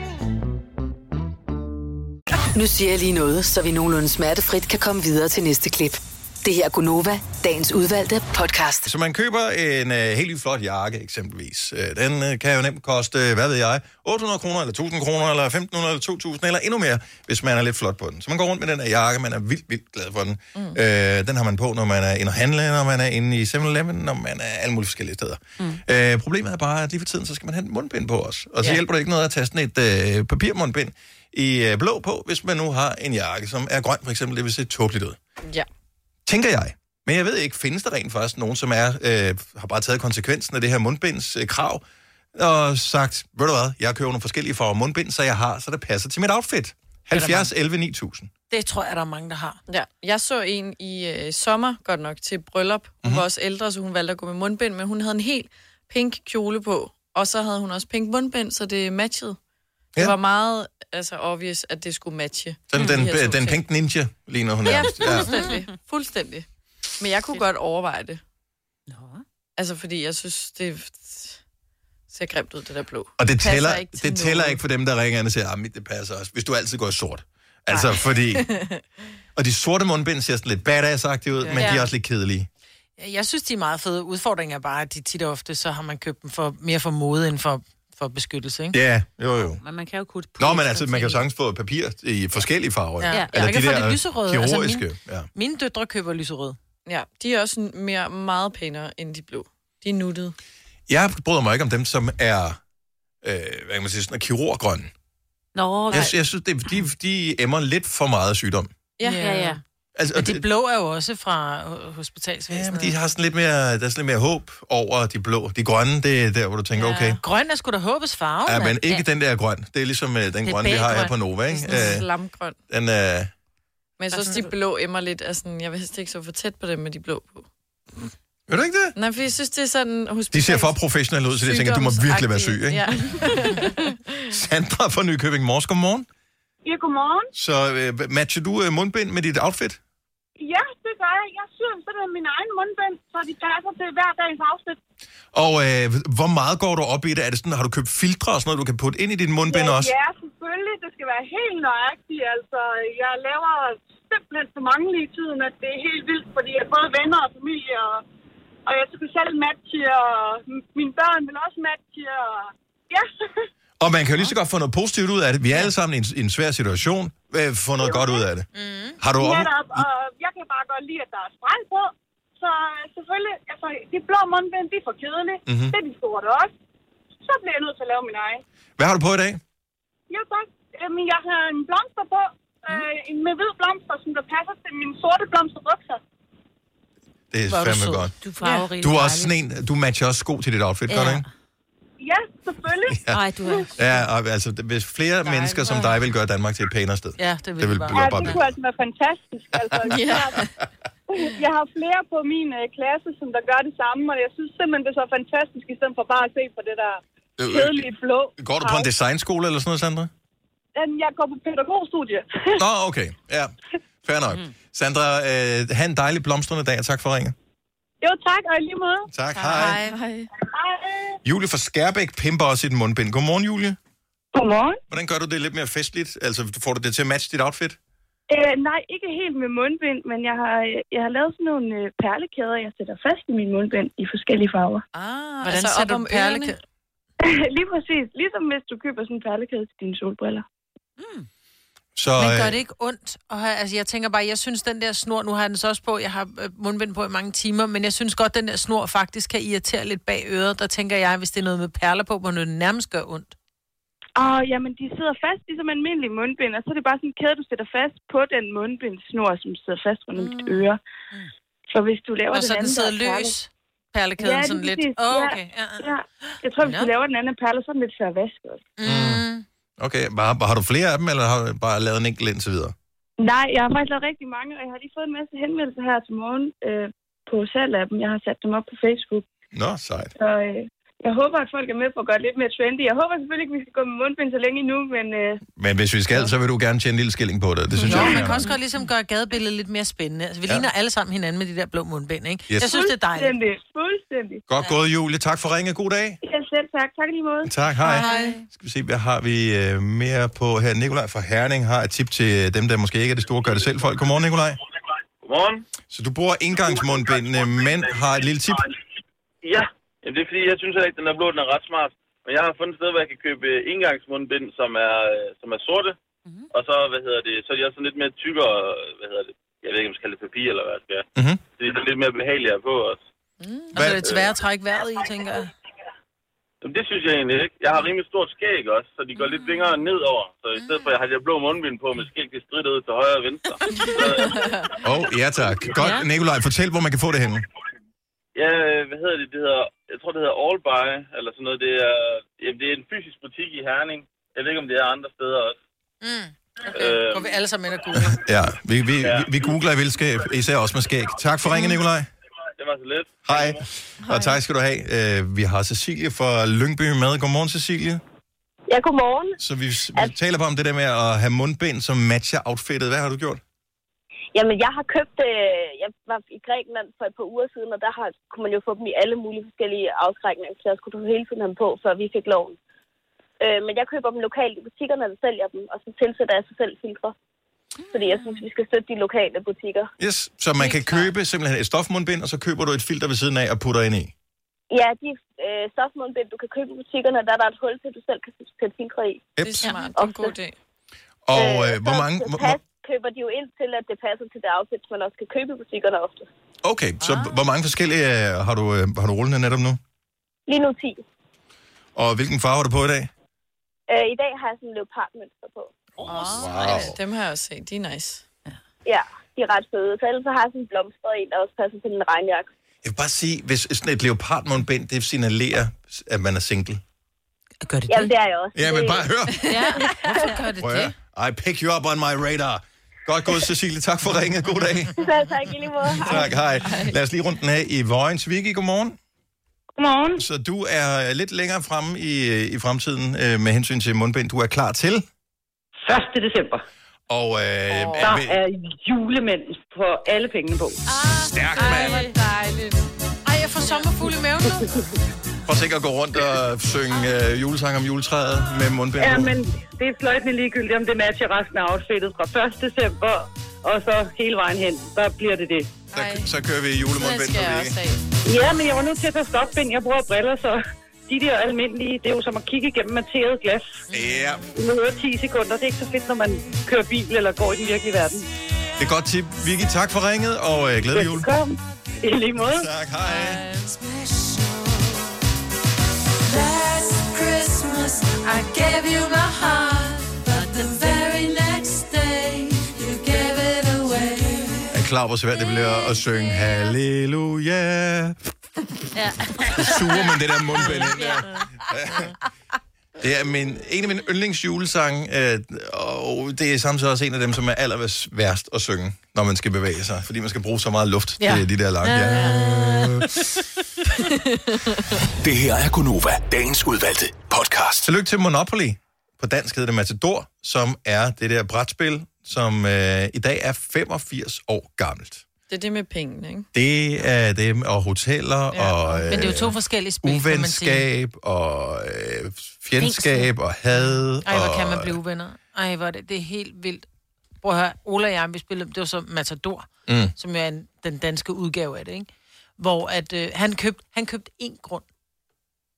D: Nu siger jeg lige noget, så vi nogenlunde smertefrit kan komme videre til næste klip. Det her er Gunova, dagens udvalgte podcast.
A: Så man køber en øh, helt ny flot jakke eksempelvis. Øh, den øh, kan jo nemt koste, øh, hvad ved jeg, 800 kroner, eller 1000 kroner, eller 1500, eller 2000, eller endnu mere, hvis man er lidt flot på den. Så man går rundt med den her jakke, man er vildt, vildt glad for den. Mm. Øh, den har man på, når man er inde og handle, når man er inde i 7-Eleven, når man er alle mulige forskellige steder. Mm. Øh, problemet er bare, at lige for tiden, så skal man have en mundbind på os. Og så
S: Ja.
A: ja. hjælper det ikke noget at tage sådan et øh, papirmundbind i øh, blå på, hvis man nu har en jakke, som er grøn for eksempel. Det vil se tåbeligt ud
C: Ja.
A: tænker jeg. Men jeg ved ikke, findes der rent faktisk nogen, som er, øh, har bare taget konsekvensen af det her mundbinds øh, krav, og sagt, ved du hvad, jeg køber nogle forskellige farver mundbind, så jeg har, så det passer til mit outfit. 70, 11, 9000.
B: Det tror jeg, der er mange, der har.
C: Ja, jeg så en i øh, sommer, godt nok, til bryllup. Hun
A: Mhm.
C: mm-hmm. var også ældre, så hun valgte at gå med mundbind, men hun havde en helt pink kjole på, og så havde hun også pink mundbind, så det matchede. Ja. Det var meget altså, obvious, at det skulle matche.
B: Mm,
A: Den, den,
C: de
A: øh,
C: her to
A: den, den
C: ting.
A: pink ninja ligner hun
C: Ja,
A: nærmest.
C: fuldstændig. Fuldstændig. Men jeg kunne godt overveje det. Nå. Altså, fordi jeg synes, det ser grimt ud, det der blå.
A: Og det
C: Passer
A: tæller,
C: ikke til
A: det tæller
C: noget.
A: ikke for dem, der ringer ind og siger, at det passer også, hvis du altid går i sort. Altså, Ej. fordi...
C: <laughs>
A: Og de sorte mundbind ser sådan lidt badass ud,
B: Ja.
A: men de er
B: Ja.
A: også lidt kedelige.
B: Jeg synes, de er meget fede. Udfordringen er bare, at de tit og ofte, så har man købt dem for, mere for mode end for, for beskyttelse, ikke?
A: Ja, jo jo.
E: Men man kan jo kutte
A: Nå, men altså, man kan jo sagtens få papir i forskellige farver.
B: Ja. Ja.
A: Eller
B: Man
A: de
B: kan få
A: der
B: det lyserøde, altså min-
A: kirurgiske. ja.
B: Mine døtre køber lyserød.
C: Ja, de er også mere, meget pænere end de blå. De er nuttede.
A: Jeg bryder mig ikke om dem, som er, øh, hvad kan man sige, sådan er kirurgrønne.
E: Nå,
A: Jeg, jeg synes, det, de, de emmer lidt for meget sygdom.
B: Ja, ja, ja.
A: Altså,
B: Altså,
A: og
B: men de
A: det-
B: blå er jo også fra øh,
A: Ja,
B: hospitalsvæsenet.
A: men de har sådan lidt mere, der er sådan lidt mere håb over de blå. De grønne, det er der, hvor du tænker, ja. okay.
B: Grøn er sgu da håbes farve.
A: Ja, men
B: mand.
A: ikke den der grøn. Det er ligesom øh, den
B: er
A: grønne, vi har her
B: baggrøn.
A: på Nova, ikke?
C: Det er sådan
A: Øh,
C: slamgrøn.
A: den, øh,
C: Men jeg synes også, de blå emmer lidt af sådan, jeg vil helst ikke så for tæt på dem med de blå på.
A: Vil du ikke det?
C: Nej, for jeg synes, det er sådan...
A: de ser for professionelle ud, så jeg tænker, du må virkelig være syg, ikke?
C: Ja.
A: <laughs> Sandra fra Nykøbing Mors, godmorgen.
T: Ja, godmorgen.
A: Så øh, matcher du øh, mundbind med dit outfit?
T: Ja, det gør jeg. Jeg syr simpelthen min egen mundbind, så de passer til hver dags afsnit.
A: Og øh, hvor meget går du op i det? Er det sådan, har du købt filtre og sådan noget, du kan putte ind i din mundbind
T: ja,
A: også?
T: Øh, Ja, selvfølgelig. Det skal være helt nøjagtigt. Altså, jeg laver simpelthen så mange lige i tiden, at det er helt vildt, fordi jeg både venner og familie, og, og jeg skulle selv matche, og m- mine børn vil også matche, og ja.
A: Og man kan jo lige så godt få noget positivt ud af det. Vi er alle sammen i en, i en svær situation. Øh, få noget godt ud af det. Mm.
T: <laughs>
A: Har du op...
T: Netop, og jeg kan bare godt lide, at der er spræng på. Så selvfølgelig, altså, de blå mundbind, de er for kedelige.
A: Mhm.
T: Mm-hmm. Det er de sorte også. Så bliver jeg nødt til at lave min egen.
A: Hvad har du på i dag?
T: Ja, tak. Øhm, jeg har en blomster på.
A: Mhm.
T: Øh, en med hvid blomster, som der passer til mine sorte blomsterbukser.
A: Det er
T: Hvor er du
A: fandme
T: sød.
A: godt.
E: Du er farverig.
A: Du er også sådan en, du matcher også sko til dit outfit, ja. gør du ikke?
T: Ja, selvfølgelig.
A: Ja.
E: Ej, du er...
A: Ja, og, altså, det- hvis flere
T: Nej,
A: mennesker som
T: hvor-
A: dig vil gøre Danmark til et pænere sted.
T: Ja,
A: det ville Det ville bare-
T: ja,
A: bare
T: det
A: blive-
T: kunne altså være fantastisk. Altså.
A: Ja.
T: Jeg har flere på min øh, klasse, som der gør det samme, og jeg synes simpelthen, det er så fantastisk, i stedet for bare at se på det der
A: Øh, øh,
T: kedelige blå.
A: Går du på en designskole eller sådan noget, Sandra?
T: Øhm, Jeg går på pædagogstudie. <laughs>
A: Nå, okay. Ja, fair nok. Sandra, øh, have en dejlig blomstrende dag, og tak for ringet.
T: Jo, tak, og i lige måde.
A: Tak, hej. Hej.
T: hej.
A: Julie fra Skærbæk pimper også sit mundbind. Godmorgen, Julie.
T: Godmorgen.
A: Hvordan gør du det lidt mere festligt? Altså, får du det til at matche dit outfit?
T: Øh, nej, ikke helt med mundbind, men jeg har, jeg har lavet sådan nogle øh, perlekæder, jeg sætter fast i min mundbind i forskellige farver.
C: Ah,
B: altså, Hvordan sætter du perlekæder?
T: <laughs> Lige præcis. Ligesom hvis du køber sådan en perlekæde til dine solbriller.
A: Så,
B: Men gør
A: øh,
B: det ikke ondt? Og have, altså, jeg tænker bare, jeg synes, den der snor, nu har jeg den så også på, jeg har øh, mundbind på i mange timer, men jeg synes godt, den der snor faktisk kan irritere lidt bag øret. Der tænker jeg, hvis det er noget med perler på, må det nærmest gøre ondt.
T: Og jamen, de sidder fast ligesom almindelige mundbind, og så er det bare sådan en kæde, du sætter fast på den mundbindsnor, som sidder fast rundt om dit øre. Så hvis du laver
B: Ah. Mm. Og så den
T: anden, der
B: sidder
T: er perle-
B: løs, perlekæden
T: ja,
B: sådan
T: lige
B: lidt.
T: præcis.
B: Åh,
T: Ja,
B: okay, ja,
T: ja. Jeg tror, hvis
A: Nå.
T: du laver den anden af perler, så er den lidt svær at vaske også.
B: Mm.
A: Okay, bare, har du flere af dem, eller har du bare lavet en enkelt indtil videre?
T: Nej, jeg har faktisk lavet rigtig mange, og jeg har lige fået en masse henvendelser her til morgen øh, på salg af dem. Jeg har sat dem op på Facebook.
A: Nå, sejt.
T: Så øh, jeg håber, at folk er med på at gøre det lidt mere trendy. Jeg håber selvfølgelig ikke, at vi skal gå med mundbind så længe endnu, men øh,
A: Men hvis vi skal, så vil du gerne tjene en lille skilling på det. Det synes
B: Nå,
A: jeg
B: man
A: jeg.
B: kan også godt ligesom gøre gadebilledet lidt mere spændende. Altså, vi
A: Ja.
B: ligner alle sammen hinanden med de der blå mundbind, ikke?
A: Yes.
B: Jeg synes, det er dejligt.
T: fuldstændig, fuldstændig.
A: Godt gået, Julie. Tak for ringet. God dag.
T: Ja, selv tak. Tak i lige måde.
A: Tak, hej. Skal vi se, hvad har vi øh, mere på her? Nikolaj fra Herning har et tip til øh, dem, der måske ikke er det store gør-det-selv-folk. Godmorgen, Nikolaj.
S: Godmorgen.
A: Så du bruger indgangsmundbindene, men har et lille tip?
S: Ja, Jamen, det er fordi, jeg synes heller ikke, den er blå, den er ret smart. Men jeg har fundet et sted, hvor jeg kan købe øh, engangsmundbind, som er, øh, som er sorte. Mm-hmm. Og så, hvad hedder det, så er de også sådan lidt mere tykkere, øh, hvad hedder det, jeg ved ikke, om jeg skal kalde det papir eller hvad det skal.
A: Mm-hmm.
S: Så de er sådan lidt mere behageligere på os.
B: Og så er det svært at trække vejret i, tænker jeg.
S: Jamen, det synes jeg egentlig ikke. Jeg har rimelig stort skæg også, så de går lidt længere nedover. Så i stedet for, at jeg har de her blå mundbind på med skæg, det strider ud til højre og venstre.
A: Åh, oh, ja tak. Godt, Nikolaj. Fortæl, hvor man kan få det henne.
S: Ja, øh, hvad hedder det? Det hedder, jeg tror, det hedder All By, eller sådan noget. Det er, jamen, det er en fysisk butik i Herning. Jeg ved ikke, om det er andre steder også.
B: Mm.
S: Øh,
B: Går vi alle sammen ind og googler.
A: Ja, vi, vi, vi, vi googler i vildskab, især også med skæg. Tak for ringet, Nikolaj.
S: det var så lidt.
A: Hej. Og tak skal du have. Øh, vi har Cecilie fra Lyngby med. Godmorgen, Cecilie.
U: Ja, godmorgen.
A: Så vi, vi taler bare om det der med at have mundbind, som matcher outfittet. Hvad har du gjort?
U: Jamen, jeg har købt... Øh, jeg var i Grækenland for et par uger siden, og der har, kunne man jo få dem i alle mulige forskellige afskrækninger, så jeg skulle du hele tiden have dem på, før vi fik loven. Øh, men jeg køber dem lokalt i butikkerne, der sælger dem, og så tilsætter jeg så selv filtre. Fordi jeg synes, vi skal støtte de lokale butikker.
A: Yes, så man kan købe simpelthen et stofmundbind, og så køber du et filter ved siden af og putter ind i.
U: Ja, de øh, stofmundbind, du kan købe i butikkerne, der er der et hul til, du selv kan sætte filtre i.
A: Det er
C: smart. Det er en god idé.
A: Og øh, hvor mange...
U: Så
A: Hvor,
U: pas,
A: hvor-
U: køber de jo ind til, at det passer til det outfit, man også kan købe i butikkerne ofte.
A: okay, så
U: Ah.
A: hvor mange forskellige øh, har du, øh, har du rullende netop nu?
U: Lige nu 10.
A: Og hvilken farve har du på i dag?
U: Øh, I dag har jeg sådan en leopardmønster på.
C: Wow. Dem har jeg også set. De er nice.
U: Ja, de er ret fede. Så ellers så har jeg sådan en blomstret en, der også passer til min regnjakke.
A: Jeg vil bare sige, hvis sådan et leopardmundbind, det signalerer, at man er single.
E: Gør
U: det Jamen, det er jeg også.
A: Ja, men bare hør.
U: ja,
B: hvorfor gør
A: Prøv at høre. I pick you up on my radar. Godt gået, Cecilie. Tak for ringet. God dag.
U: Så tak i lige måde.
A: Tak, hej. Lad os lige rundt den af i Vojens. Vicky, godmorgen.
U: Godmorgen.
A: Så du er lidt længere fremme i, i fremtiden øh, med hensyn til mundbind. Du er klar til? 1.
V: december.
A: Og øh,
V: Der
A: er,
V: er julemænd på alle pengene på.
A: stærk
B: Ah, Ej,
A: mand.
B: hvor dejligt. Ej, jeg får sommerfugle i maven nu.
A: Prøv sikkert at gå rundt og synge øh, julesang om juletræet med mundbind.
V: Ja,
A: på.
V: men det er fløjtende ligegyldigt, om det matcher resten af outfittet fra 1. december og så hele vejen hen. Der bliver det det.
A: Så, så kører vi julemundbind for Vicky.
V: Ja, men jeg var nødt til at tage stopbind. Jeg bruger briller, så de der almindelige, det er jo som at kigge igennem materet glas.
A: Ja,
V: Du hører 10 sekunder. Det er ikke så fedt, når man kører bil eller går i den virkelige verden.
A: det er godt tip. Vicky, tak for ringet, og øh, glædelig jul.
V: Velkommen. I lige måde.
A: Tak, hej.
Q: Last Christmas, I gave you my heart, but the very next day, you gave it away.
A: Jeg er klar, hvor svært det bliver at synge halleluja.
Q: Ja.
A: Så suger man det der mundbind ind der. Det er min, en af mine yndlingsjulesange, øh, og det er samtidig også en af dem, som er aller værst at synge, når man skal bevæge sig, fordi man skal bruge så meget luft ja.
Q: Ja.
A: til de der lange. Ja.
F: Det her er Gunova, dagens udvalgte podcast.
A: Tillykke til Monopoly. På dansk hedder det Matador, som er det der brætspil, som øh, i dag er 85 år gammelt.
C: Det er det med pengene, ikke?
A: Det er dem, og hoteller, ja. og... øh,
B: Men det er jo to forskellige spil, kan man sige.
A: Uvenskab, og øh, fjendskab, og had,
B: Ej, hvor
A: og...
B: kan man blive uvenner. Ej, hvor er det, det er helt vildt. Prøv at høre, Ola og jeg, vi spillede, det var så Matador,
A: Mm.
B: mm. som jo er en, den danske udgave af det, ikke? Hvor at, øh, han købte han købte én grund.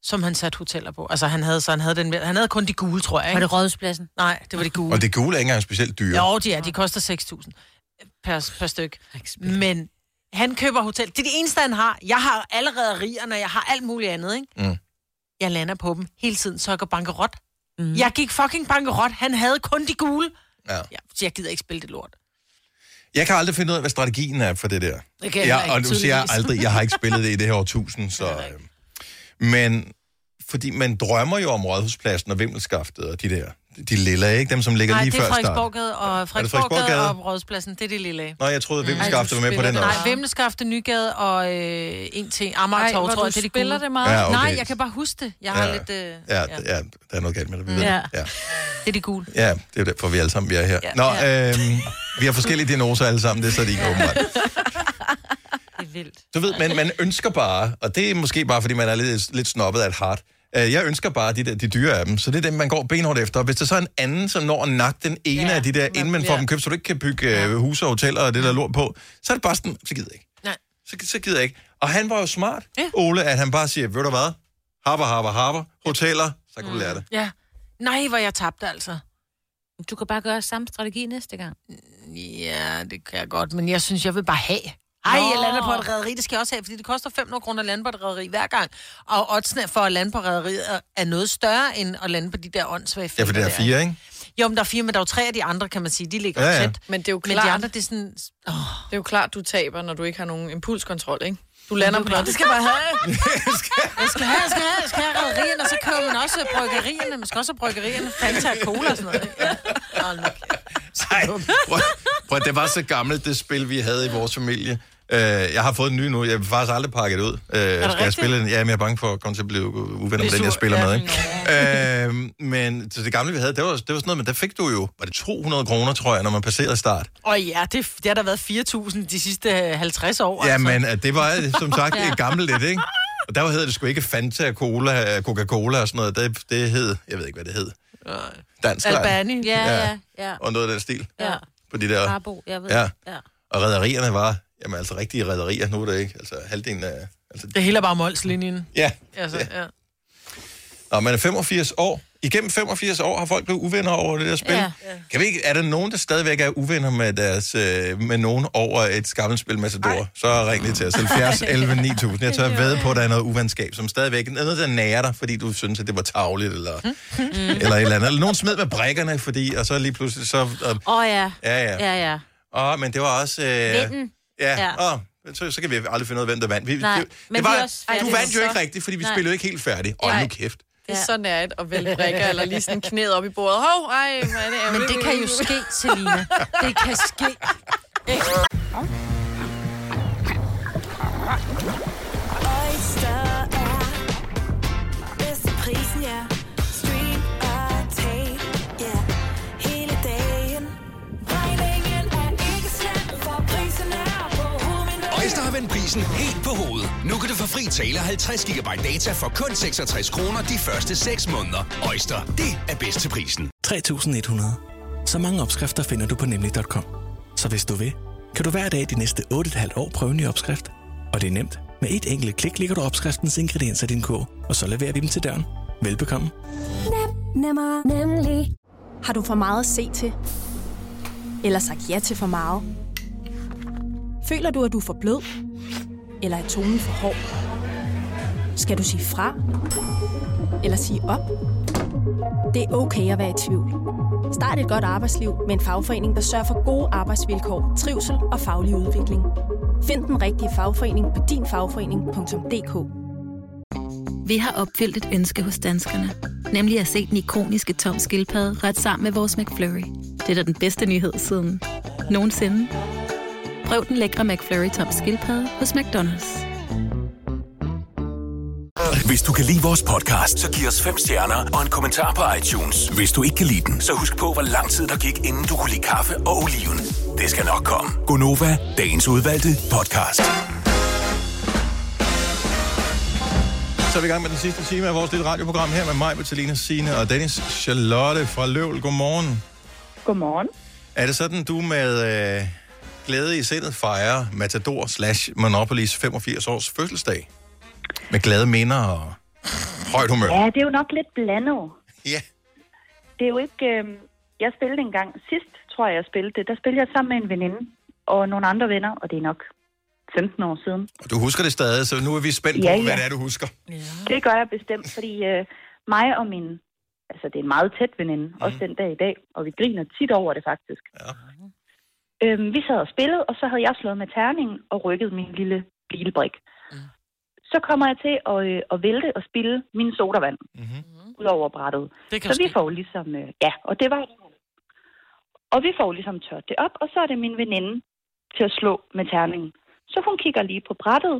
B: som han satte hoteller på. Altså, han havde, så han havde, den, med- han havde kun de gule, tror jeg. Ikke?
E: Var det Rådhuspladsen?
B: Nej, det var de gule.
A: Og det gule er ikke engang specielt dyre.
B: Jo, de er. De koster 6.000 per, per styk. Men han køber hotel. Det er det eneste, han har. Jeg har allerede rigerne, jeg har alt muligt andet, ikke?
A: <laughs> Mm.
B: Jeg lander på dem hele tiden, så jeg går bankerot.
C: Mhm.
B: Mm. Jeg gik fucking bankerot. Han havde kun de gule.
A: Ja.
B: Ja, så jeg gider ikke spille det lort.
A: Jeg kan aldrig finde ud af, hvad strategien er for det der.
B: Det kan jeg
A: jeg,
B: heller
A: og
B: ikke,
A: nu siger jeg
B: tydeligvis.
A: aldrig, jeg har ikke spillet det i det her årtusind, så... Øh, men fordi man drømmer jo om Rådhuspladsen og Vimmelskaftet og de der, de lilla, ikke? Dem, som ligger
B: Nej,
A: lige
B: det er
A: før starten.
B: Frederiksborggade og
A: Frederiksborggade?
B: Frederiksborggade og Rådspladsen. Det er det lille. af.
A: Nå, jeg troede, at Vimmelskaftet var med på
B: spiller
A: den
B: det.
A: også.
B: Nej, Vimmelskafte, Nygade og øh, en til Amager
C: Ej,
B: Torv,
C: hvor
B: tror
C: du
B: jeg, det er de
C: spiller
B: gule.
C: det
A: meget. Ja, okay.
B: Nej, jeg kan bare huske det. Jeg har lidt... Øh, ja.
A: ja, ja. der er noget galt med det. Vi ved
B: Ja.
A: det. Ja.
B: Det er de gule.
A: ja, det er derfor, vi alle sammen vi er her.
B: Ja.
A: Nå, øhm, vi har forskellige diagnoser alle sammen, det er så de ikke åbenbart.
E: Det er vildt.
A: Du ved, man, man ønsker bare, og det er måske bare, fordi man er lidt, lidt snobbet af et hart. Øh, Jeg ønsker bare de, der, de dyre af dem, så det er dem, man går benhårdt efter. Og hvis der så er en anden, som når at nakke den ene ja, af de der, inden man får
B: bliver-
A: dem købt, så du ikke kan bygge ja. huse og hoteller og det der lort på, så er det bare sådan, så gider jeg ikke.
B: Nej.
A: Så, så gider jeg ikke. Og han var jo smart, ja. Ole, at han bare siger, ved du hvad, harper, harper, harper, hoteller, så kan du lære det.
B: Ja. Nej, hvor jeg tabte altså.
E: Du kan bare gøre samme strategi næste gang.
B: Ja, det kan jeg godt, men jeg synes, jeg vil bare have. Ej,
E: Nå.
B: jeg lander på et rederi, det skal jeg også have, fordi det koster 500 kroner at lande på et rederi hver gang. Og oddsene for at lande på rederiet er noget større, end at lande på de der åndssvage
A: Ja, for det er
B: der,
A: fire, ikke?
B: Jo, men der er fire, men der er jo tre af de andre, kan man sige. De ligger
A: Ja,
B: ja,
A: ja.
B: ja. tæt.
C: Men det er jo
B: Men
C: klart,
B: de andre, det er sådan...
C: oh. det er jo klart, du taber, når du ikke har nogen impulskontrol, ikke? Du lander
B: Men
C: på
B: det er
C: noget.
B: jo
C: <laughs> Det skal jeg bare have.
A: <laughs>
B: Jeg skal have, jeg skal have, jeg skal have rederierne, og så køber man også bryggerierne. Man skal også have bryggerierne, Fanta og Cola og sådan noget. ikke? Ja. Hold nu kæft.
A: Nej, prøv, prøv, det var så gammelt, det spil, vi havde i vores familie. Øh, jeg har fået en ny nu. Jeg vil faktisk aldrig pakke det ud. Øh, skal jeg
G: rigtigt?
A: spille den? Ja, men jeg er bange for at komme til at blive u- uvenner med
G: Blive
A: den, jeg
G: sur.
A: spiller
G: Ja,
A: med. Ikke? øh, men så det gamle, vi havde, det var, det var sådan noget, men der fik du jo, var det 200 kroner, tror jeg, når man passerede start.
B: Og ja, det, det har der været 4.000 de sidste øh, 50 år.
A: Ja,
B: altså.
A: men øh, det var som sagt
B: Ja.
A: ja. gammelt lidt, ikke? Og der hedder det sgu ikke Fanta, Cola, øh, Coca-Cola og sådan noget. Det, det hed, jeg ved ikke, hvad det hed. Dansk Line.
B: Albani.
E: Ja, ja, ja.
A: Og noget af den stil.
E: Ja.
A: På de der...
E: Arbo, jeg ved.
A: Ja.
E: ja.
A: Og rædderierne var, jamen altså rigtige rædderier, nu er det ikke, altså halvdelen af... Altså,
B: Det hele er bare målslinjen.
A: ja,
B: Altså, ja.
A: når man er 85 år, igennem 85 år har folk blevet uvenner over det der spil.
B: Ja.
A: Ja. Kan vi ikke, er der nogen, der stadigvæk er uvenner med, deres, øh, med nogen over et gammelt spil Matador, så ring lige til os. 70 11 9000. Jeg tør ved på, at der er noget uvenskab, som stadigvæk er noget, der nærer dig, fordi du synes, at det var tavligt, eller, <laughs> eller et eller andet. Eller nogen smed med brækkerne, fordi, og så lige pludselig så... Øh,
E: Åh oh, ja.
A: ja, ja.
E: Ja, ja.
A: Åh, men det var også... Øh,
E: Vinden.
A: Ja,
E: Ja.
A: ja. Åh, så, så kan vi aldrig finde ud af, hvem der vandt. Vi,
E: Nej,
A: det,
E: men
A: det var,
E: vi er også-
A: du
E: Ej, det
A: vandt
E: var
A: jo
E: så-
A: ikke rigtigt, fordi vi
E: Nej.
A: spillede jo ikke helt færdigt. Åh,
C: Nej.
A: nu kæft.
C: Det er så nært at vælge brikker, eller lige sådan knæet op i bordet. Hov, ej, hvor er det
B: Men
C: ærgerligt.
B: det kan jo ske, Selina. Det kan ske.
Q: Oyster er bedst til prisen, ja. Stream og tag, ja. Hele dagen. Regningen er ikke slem, for prisen er på hovedet.
F: Øjster har vendt prisen helt på hovedet. Nu kan du få fri tale 50 GB data for kun 66 kroner de første 6 måneder. Øjster, det er bedst til prisen.
R: 3.100. Så mange opskrifter finder du på nemlig.com. Så hvis du vil, kan du hver dag de næste 8,5 år prøve en ny opskrift. Og det er nemt. Med et enkelt klik ligger du opskriftens ingredienser i din kog, og så leverer vi dem til døren. Velbekomme.
L: Nemmer, nemlig. Har du for meget at se til? Eller sagt ja til for meget? Føler du, at du er for blød? Eller er tonen for hård? Skal du sige fra? Eller sige op? Det er okay at være i tvivl. Start et godt arbejdsliv med en fagforening, der sørger for gode arbejdsvilkår, trivsel og faglig udvikling. Find den rigtige fagforening på dinfagforening.dk.
N: Vi har opfyldt et ønske hos danskerne. Nemlig at se den ikoniske tom skildpadde ret sammen med vores McFlurry. Det er da den bedste nyhed siden nogensinde. Prøv den lækre McFlurry tom skildpadde hos McDonald's.
H: Hvis du kan lide vores podcast, så giv os fem stjerner og en kommentar på iTunes. Hvis du ikke kan lide den, så husk på, hvor lang tid der gik, inden du kunne lide kaffe og oliven. Det skal nok komme.
F: Gonova, dagens udvalgte podcast.
A: Så er vi i gang med den sidste time af vores lille radioprogram her med mig, Bettelina Sine og Dennis Charlotte fra Løvl. Godmorgen.
W: Godmorgen.
A: Er det sådan, du med øh, glæde i sindet fejrer Matador slash Monopolis 85 års fødselsdag? Med glade minder og... Højt humør.
G: Ja, det er jo nok lidt blandet.
A: Ja.
G: Det er jo ikke... Øh, jeg spillede en gang sidst, tror jeg, jeg spillede det. Der spillede jeg sammen med en veninde og nogle andre venner, og det er nok 15 år siden.
A: Og Du husker det stadig, så nu er vi spændt på,
G: Ja, ja.
A: hvad det er, du husker.
G: Det gør jeg bestemt, fordi øh, mig og min... Altså, det er en meget tæt veninde, mm. også den dag i dag, og vi griner tit over det faktisk.
A: Ja.
G: Øhm, vi sad og spillede, og så havde jeg slået med terningen og rykket min lille bilbrik. Mm. Så kommer jeg til at, øh, at vælte og spille min sodavand mm-hmm. ud over brættet.
J: Det kan
G: så
J: jo
G: vi
J: ske.
G: får ligesom... Øh, ja, og det var... Og vi får ligesom tørt det op, og så er det min veninde til at slå med terningen. Så hun kigger lige på brættet.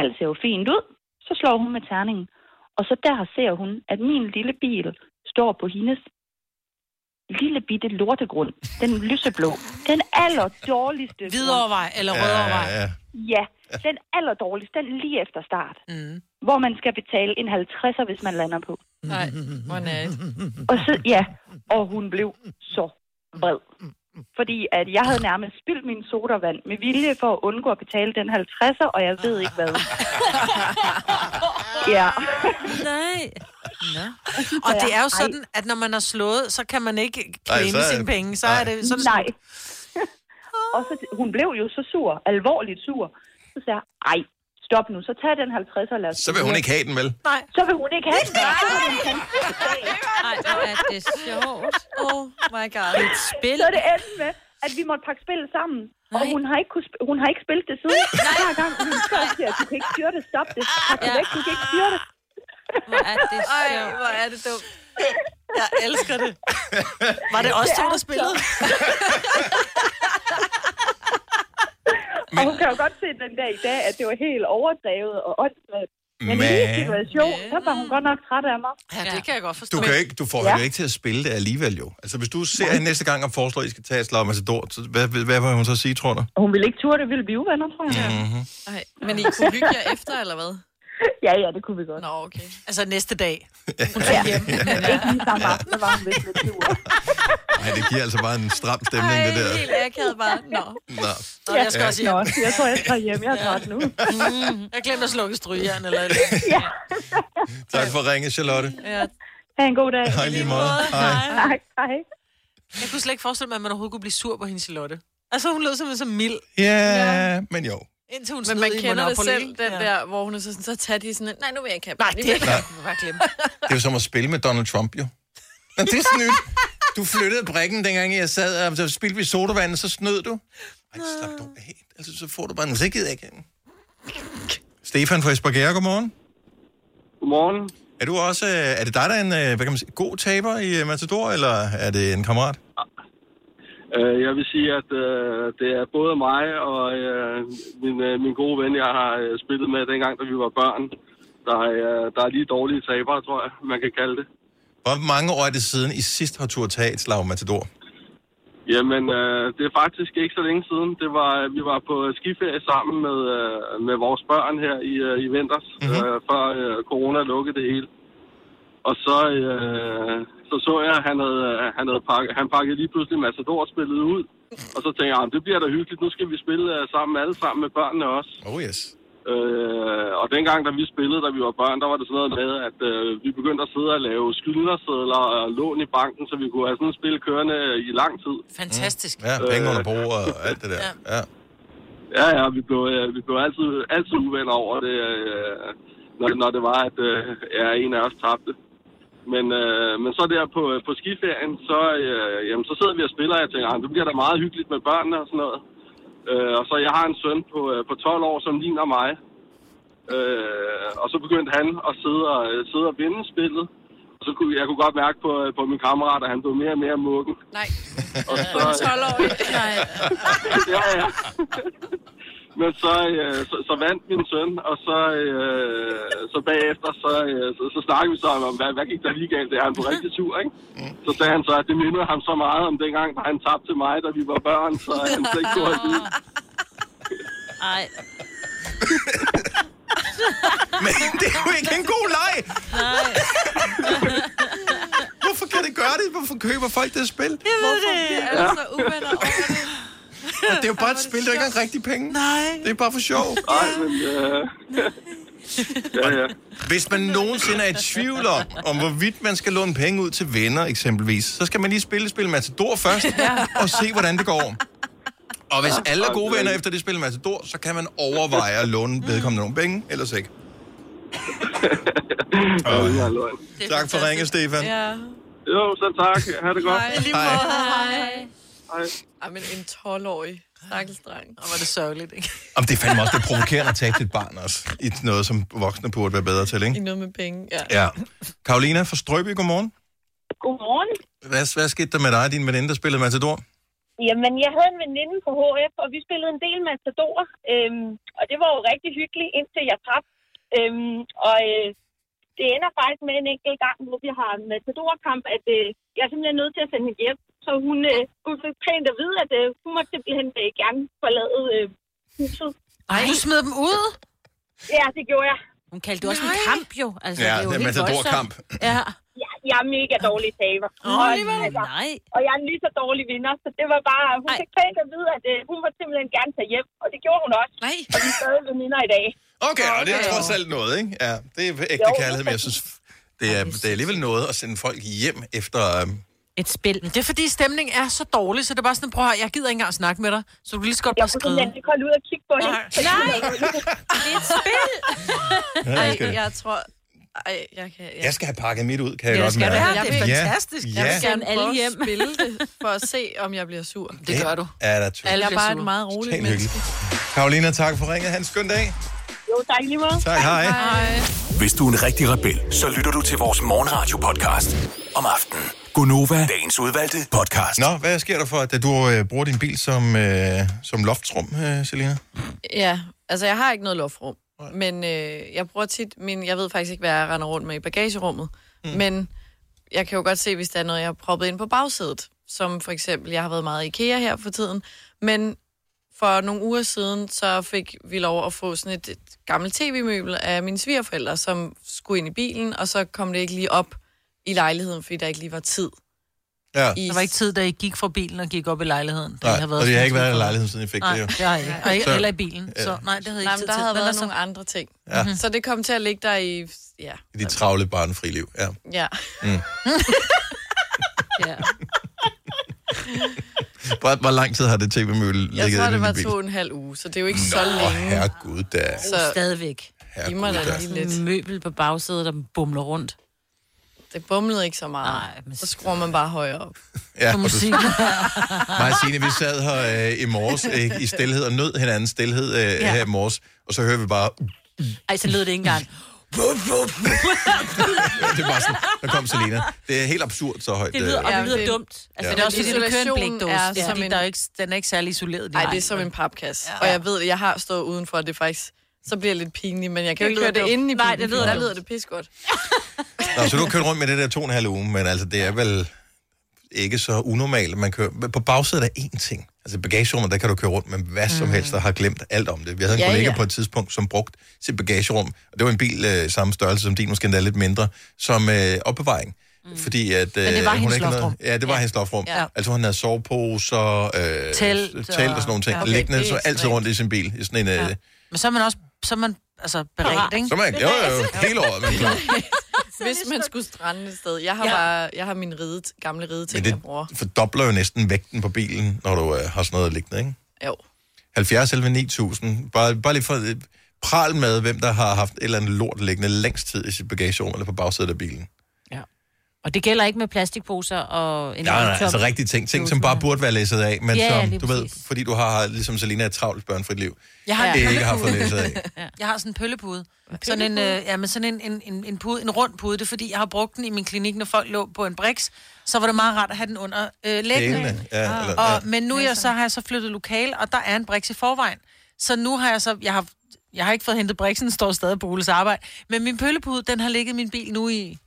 G: Alt ser jo fint ud. Så slår hun med terningen. Og så der ser hun, at min lille bil står på hendes lille bitte lortegrund. Den lyseblå. Den aller dårligste...
B: Hvidovre eller
G: grund.
B: Rødovre?
A: Ja, ja.
G: Ja, den aller dårligste, den lige efter start. Mm. Hvor man skal betale en 50'er, hvis man lander på.
C: Nej, hvor nært.
G: Og så, ja, og hun blev så vred. Fordi at jeg havde nærmest spildt min sodavand med vilje for at undgå at betale den 50'er, og jeg ved ikke
B: <laughs>
G: hvad. ja.
E: Nej.
B: Nå. Og det er jo sådan, at når man har slået, så kan man ikke
G: så
B: claime
G: er-
B: sine penge. Så er det, så
G: <laughs>
B: er det
G: Nej. Og så, hun blev jo så sur, alvorligt sur. Så sagde jeg, ej, stop nu, så tag den 50'er og lad os...
A: Så vil hun ikke have den, vel?
G: Nej. Så vil hun ikke have den. Så vil hun ikke have den.
C: Nej, hvor er det sjovt. Oh my god. Et spil.
G: Så er det endt med, at vi måtte pakke spillet sammen. Nej. Og hun har, ikke kunne sp- hun har ikke spillet det siden. Nej. Hver gang hun står til, at du kan ikke styre det, stop det. Pak det væk, du kan ikke styre det.
E: Hvor er det
G: sjovt.
B: Ej, hvor er det dumt. Jeg <laughs> elsker
G: <laughs>
B: det. Var det også to, der spillede?
G: Men... <laughs> Og hun kan jo godt se den dag i dag, at det var helt overdrevet og åndssvagt. Men i
A: Men-
G: lige situation, så var hun godt nok træt af mig.
B: Ja, det kan jeg godt forstå.
A: Du, kan jo ikke, du får ja. jo ikke til at spille det alligevel, jo. Altså, hvis du ser hende næste gang og foreslår, at I skal tage et slag med så hvad, hvad, hvad vil hun så sige, tror du?
G: Hun ville ikke turde, det ville blive uvenner, tror jeg.
A: Mm-hmm.
C: Ej, men I kunne hygge jer efter, eller hvad?
G: Ja, ja, det kunne vi godt.
C: Nå, okay.
B: Altså næste dag.
A: <laughs>
G: Hun tog
C: <laughs>
G: hjem. Ikke lige samme aften, der var hun vist lidt sur.
A: Nej, det giver altså bare en stram stemning, det der.
C: Helt akavet bare. Nå.
A: Nå.
B: Nå, jeg skal
A: Ja.
B: også hjem.
G: Jeg tror, jeg tager hjem. Jeg er træt nu.
B: Mm, jeg glemte at slukke strygejern eller et eller andet.
A: Tak for at ringe, Charlotte.
G: Ja. Ha' en god dag.
A: Hej, lige måde. Hej.
G: Hej. Hej.
B: Jeg kunne slet ikke forestille mig, at man overhovedet kunne blive sur på hende, Charlotte. Altså, hun lød simpelthen så mild,
A: Ja, men jo.
B: indtil hun
C: Men man
B: sned i
C: kender det
B: Monopoly.
C: selv, den der, hvor hun er så sådan, så tager de sådan, en, nej, nu vil jeg ikke have. Nej,
B: det
A: Nej.
B: kan man bare glemme.
A: Det er jo som at spille med Donald Trump, jo. Men det er snydt. Du flyttede brikken, dengang jeg sad, og så spildte vi sodavand, og så snød du. Ej, slap dog helt. Altså, så får du bare en så gider jeg ikke. have den. Stefan fra Esbjerg, godmorgen.
W: Godmorgen.
A: Er du også, øh, er det dig, der er en, øh, hvad kan man sige, god taber i øh, Matador, eller er det en kammerat?
W: Øh, Jeg vil sige, at øh, det er både mig og øh, min, øh, min gode ven, jeg har øh, spillet med dengang, da vi var børn. Der er, øh, der er lige dårlige tabere, tror jeg, man kan kalde det.
A: Hvor mange år er det siden, I sidst har turde tage et slag Matador?
W: Jamen, øh, det er faktisk ikke så længe siden. Det var, øh, vi var på skiferie sammen med, øh, med vores børn her i, øh, i vinters, mm-hmm. øh, før øh, corona lukkede det hele. Og så, øh, så så jeg, at han havde, øh, han havde pakket, han pakkede lige pludselig Matador-spillet ud. Og så tænkte jeg, "Ah, men det bliver da hyggeligt, nu skal vi spille øh, sammen alle sammen med børnene også.
A: Oh yes.
W: Øh, og dengang, da vi spillede, da vi var børn, der var det sådan noget med, at øh, vi begyndte at sidde og lave skyldnersedler og lån i banken, så vi kunne have sådan et spil kørende i lang tid.
B: Fantastisk.
A: Mm. Ja, penge under bordet og alt det der. Ja.
W: Øh, Ja, ja, vi blev, øh, vi blev altid, altid uvenner over det, øh, når, når det var, at øh, ja, en af os tabte. Men, øh, men så der på, øh, på skiferien, så, øh, jamen, så sidder vi og spiller, og jeg tænker, "Ah, det bliver da meget hyggeligt med børnene og sådan noget. Øh, og så jeg har en søn på, øh, på 12 år, som ligner mig. Øh, og så begyndte han at sidde og, øh, sidde og vinde spillet. Og så kunne, jeg kunne godt mærke på, øh, på min kammerat, at han blev mere og mere mukken.
C: Nej.
W: Og så,
C: 12 år. Nej.
W: <laughs> ja, ja. Men så, øh, så, så vandt min søn, og så, øh, så bagefter, så, øh, så, så snakkede vi så om, hvad, hvad gik der lige galt, det er han på rigtig tur, ikke? Så sagde han så, at det mindede ham så meget om dengang, da han tabte til mig, da vi var børn, så han slet ikke kunne have vide.
E: Ah. Ej.
A: <laughs> Men det er jo ikke en god leg.
E: Nej.
A: Hvorfor kan det gøre det? Hvorfor køber folk det spil?
B: Jeg ved det.
A: Hvorfor?
B: Jeg er så uvenner over
A: Og det er jo bare et spil, der ikke har rigtig penge. Nej. Det er bare for sjov. <laughs>
W: Nej, men... Øh,
A: Ja, ja. Hvis man nogensinde er i tvivl om, om hvorvidt man skal låne penge ud til venner eksempelvis, så skal man lige spille spil Matador først, og se, hvordan det går. Og hvis alle er gode venner efter det spil Matador, så kan man overveje at låne vedkommende nogle penge, ellers ikke. Åh, tak for ringe, Stefan.
C: Ja.
W: Jo, så tak. Ha' det godt.
C: Hej. Lige måde. <laughs> Hej. Hej. Ej, men en 12-årig stakkels dreng. Og
B: var det sørgeligt, ikke?
A: Om det er fandme også det provokerende at tabe sit barn også, i noget, som voksne burde være bedre til,
C: I
A: ikke?
C: noget med penge, ja.
A: Ja. Karolina fra Strøby, godmorgen.
T: Godmorgen.
A: Hvad, hvad skete der med dig og din veninde, der spillede Matador?
T: Jamen, jeg havde en veninde på HF, og vi spillede en del matador, øhm, og det var jo rigtig hyggeligt, indtil jeg tabte. Øhm, og øh, det ender faktisk med en enkelt gang, hvor vi har en matadorkamp, at øh, jeg er simpelthen nødt til at sende hende hjem. Så hun, øh, hun fik pænt at vide, at øh, hun måtte simpelthen øh, gerne forlade øh, huset.
B: Ej, du smed dem ud?
T: Ja, det gjorde jeg.
E: Hun kaldte det også en kamp jo. Altså,
A: Ja,
E: det er jo
A: det er
E: helt
A: matadorkamp.
E: voldsomt. Ja.
T: Jeg, jeg er mega dårlig taber. Altså,
E: Nå, alligevel. Nej.
T: Og jeg er en lige så dårlig vinder, så det var bare... Hun fik pænt at vide, at øh, hun måtte simpelthen gerne tage hjem, og det gjorde hun også.
B: Nej.
T: Og vi er stadig veninder i dag.
A: Okay, og det er trods alt noget, ikke? Ja, det er ægte
T: Jo,
A: kærlighed, men jeg synes, det er, det er alligevel noget at sende folk hjem efter... øhm,
E: Et spil.
B: Det er fordi stemningen er så dårlig, så det er bare sådan, prøv at høre, jeg gider ikke engang snakke med dig, så du kan lige så godt bare skride. Jeg
T: kunne holde ud og kigge på
B: hende.
C: Nej! Det er et spil!
A: <laughs> Ja, det skal
C: Ej,
A: det.
C: jeg tror... Ej, jeg kan...
A: Jeg skal have pakket mit ud, kan jeg
C: Ja,
A: godt
C: skal
A: mærke.
C: du have. Det er fantastisk.
A: Ja,
C: Jeg
A: ja.
C: vil gerne
E: Alle
C: prøve at
E: hjem.
C: spille det, for at se, om jeg bliver sur.
A: Det gør
B: du.
A: er der tvivl.
C: Jeg er bare et meget roligt
A: Helt
C: menneske.
A: hyggeligt. Karolina, tak for ringet. Ha' en skøn dag.
T: Jo, tak lige måde.
A: Tak, hej.
H: Hvis du er en rigtig rebel, så lytter du til vores morgenradio-podcast om aftenen. Gunova, dagens udvalgte podcast.
A: Nå, hvad sker der for, at du øh, bruger din bil som, øh, som loftsrum, øh, Selina?
C: Ja, altså jeg har ikke noget lofrum, men øh, jeg bruger tit min... Jeg ved faktisk ikke, hvad jeg render rundt med i bagagerummet, mm. men jeg kan jo godt se, hvis der er noget, jeg har proppet ind på bagsædet. Som for eksempel, jeg har været meget i IKEA her for tiden, men for nogle uger siden, så fik vi lov at få sådan et, et gammelt tv-møbel af mine svigerforældre, som skulle ind i bilen, og så kom det ikke lige op i lejligheden, fordi der ikke lige var tid.
A: Ja.
B: Der var ikke tid, da I gik fra bilen og gik op i lejligheden.
A: Nej, og det har
B: sådan
A: ikke været
B: to-
A: i lejligheden, siden I fik
B: nej,
A: det, jo.
B: det har jeg ikke. Og ikke
A: Så-
B: heller i bilen.
A: Ja.
B: Så nej, det havde jeg
C: Nej,
B: ikke
C: men
B: tid
C: der
B: til.
C: havde
B: Men
C: været
B: altså-
C: nogle andre ting. Mhm.
A: Ja.
C: Så det kom til at ligge der i... Ja.
A: I dit travle barnfri liv, ja.
C: ja.
A: Mm. <laughs>
C: ja.
A: Hvor, hvor lang tid har det tv-mølle ligget
C: Jeg tror,
A: inde
C: det
A: i
C: var
A: din bil?
C: to og en halv uge, så det er jo ikke
A: Nå,
C: så længe.
A: herregud da.
C: Så
E: stadigvæk.
A: Herregud
E: Giv mig
A: da.
E: da lige lidt. møbel på bagsædet, der bumler rundt.
C: Det bumlede ikke så meget. Nej, men... Så skruer man bare højere op.
A: Ja, og du- <laughs> Mig og Signe, vi sad her øh, i morges øh, i stillhed og nød hinandens stillhed øh,
E: Ja.
A: ja. her i morges, og så hører vi bare,
E: Ej, så lød det ikke
A: <laughs>
E: engang. <laughs>
A: det var sådan, der kom Selena. Det er helt absurd så højt.
E: Det lyder, og det
A: øh,
E: lyder dumt.
A: Ja.
E: Altså, det er også fordi, det kører en
C: Isolationen
E: blikdåse.
C: er
E: Det er,
C: som
E: fordi,
C: en-
E: der er jo ikke, den er ikke særlig isoleret.
C: Nej, det er som en papkasse. Ja. Og jeg ved, at jeg har stået udenfor, og det er faktisk... Så bliver jeg lidt pinlig, men jeg kan
E: Det
C: jo ikke
E: lyder
C: køre det
E: dumt.
C: inde i bilen.
E: Nej, det lyder
C: Der
E: dumt.
C: lyder det pisgodt.
A: Nå, så du har kørt rundt med det der to og en halv uge, men altså, det er vel ikke så unormalt. Man kører, men på bagsædet er én ting. Altså i bagagerummet, der kan du køre rundt med hvad som
B: Mm.
A: helst, og har glemt alt om det. Vi havde en
J: Ja,
A: ja, kollega
J: ja.
A: ja. på et tidspunkt, som brugte sit bagagerum, og det var en bil øh, samme størrelse som din, måske endda lidt mindre, som øh, opbevaring. Mm. Fordi at, øh,
B: Men det var hendes
A: ikke havde-
B: loftrum.
A: Ja, det var ja. hendes lofrum.
B: Ja.
A: Ja. Altså hun havde soveposer, øh,
B: Telt
A: telt,
B: og-
A: og... telt og sådan nogle ting.
B: Ja, okay,
A: Ja, okay.
B: det
A: Liggende
B: er
A: så altid rundt i sin bil. I sådan en, øh, ja.
B: Men så er man også så er man, altså, beredt, ikke?
A: Så er man, jo, jo, jo, hele
B: <laughs>
A: året.
C: <laughs>
A: Man, klar.
C: Hvis man skulle strande et sted. Jeg har,
B: Ja.
C: ja. bare, jeg har mine ride, gamle rideting,
A: Men
C: jeg bruger.
A: det fordobler jo næsten vægten på bilen, når du øh, har sådan noget liggende, ikke?
C: Jo.
A: 70 11 9000. Bare, bare lige for øh, pral med, hvem der har haft et eller andet lort liggende længst tid i sit bagagerum eller på bagsædet af bilen.
E: Og det gælder ikke med plastikposer og en
A: Nej, nej,
E: tom-
A: altså rigtige ting. Ting, som bare burde være læsset af, men
E: Ja, ja,
A: som,
E: lige
A: du ved, fordi du har, ligesom Selina, et travlt børnefrit liv.
B: Jeg har, en
A: det ikke har fået
B: pøllepude.
A: læsset
B: <laughs>
A: af.
B: ja. jeg har sådan en pøllepude. Sådan en,
E: pøllepude?
B: øh, ja, men sådan en, en, en, en, pude, en rund pude. Det er fordi, jeg har brugt den i min klinik, når folk lå på en briks. Så var det meget rart at have den under øh, læggene.
A: Hælene, ja,
B: Ah.
A: eller-
B: og,
A: ja.
B: Men nu er jeg, så har jeg så flyttet lokal, og der er en briks i forvejen. Så nu har jeg så... Jeg har, jeg har ikke fået hentet briksen, den står stadig på Oles arbejde. Men min pøllepude, den har ligget i min bil nu i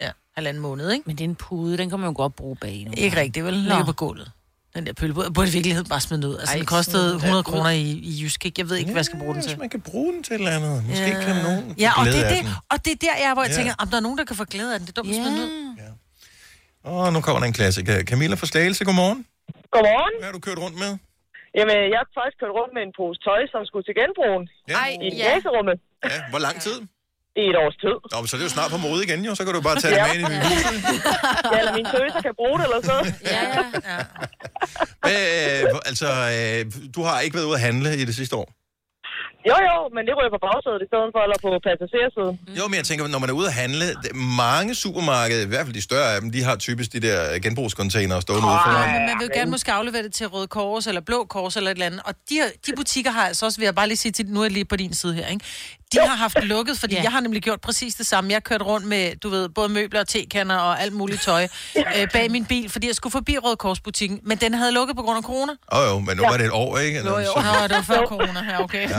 B: ja, halvanden måned, ikke?
E: Men det er en pude, den kan man jo godt bruge bag.
B: Ikke rigtigt, vel? Den ligger på gulvet. Den der pøllepude. Jeg burde i virkeligheden bare smide den ud. Altså, Ej, den kostede 100 kroner i, i Jysk, ikke? Jeg ved ikke, hvad jeg skal bruge den til.
A: man kan bruge den til et eller andet. Måske
B: Ja.
A: kan nogen
B: Ja,
A: få
B: og
A: glæde
B: det, er
A: af
B: det,
A: den.
B: og det er der, jeg er, hvor jeg
A: Ja.
B: tænker, om der er nogen, der kan få glæde af den. Det er dumt at smide den ud.
A: Åh, nu kommer der en klassiker. Camilla fra Slagelse, godmorgen.
T: Godmorgen.
A: Hvad har du kørt rundt med?
P: Jamen, jeg har faktisk kørt rundt med en pose tøj, som skulle til genbrugen.
A: Ja. Ej,
P: I
A: ja.
P: læserummet.
A: Ja, hvor lang tid?
P: I et års tid.
A: Nå, men så er det jo snart på mode igen, jo. Så kan du bare tage det med ind i din hus.
P: <laughs> Ja, eller mine tøser kan bruge det eller sådan noget.
B: ja, ja.
A: Øh, altså, øh, du har ikke været ude at handle i det sidste år.
P: Jo, jo, men det ryger på bagsædet i stedet for, eller på passagersiden.
B: Mm.
A: Jo, men jeg tænker, når man er ude at handle, det- mange supermarkeder, i hvert fald de større af dem, de har typisk de der genbrugscontainere stående ude
B: Nej,
A: foran.
B: men man vil jo gerne måske aflevere det til Røde Kors eller Blå Kors eller et eller andet. Og de, her- de butikker har altså også, vil jeg bare lige sige til, nu er jeg lige på din side her, ikke? De har haft lukket, fordi jeg har nemlig gjort præcis det samme. Jeg har kørt rundt med, du ved, både møbler og tekander og alt muligt tøj øh, bag min bil, fordi jeg skulle forbi Røde Korsbutikken, men den havde lukket på grund af corona.
A: Åh oh, jo, men nu var det et år, ikke?
B: Jo, jo. Nå, det var før corona her, okay. Ja.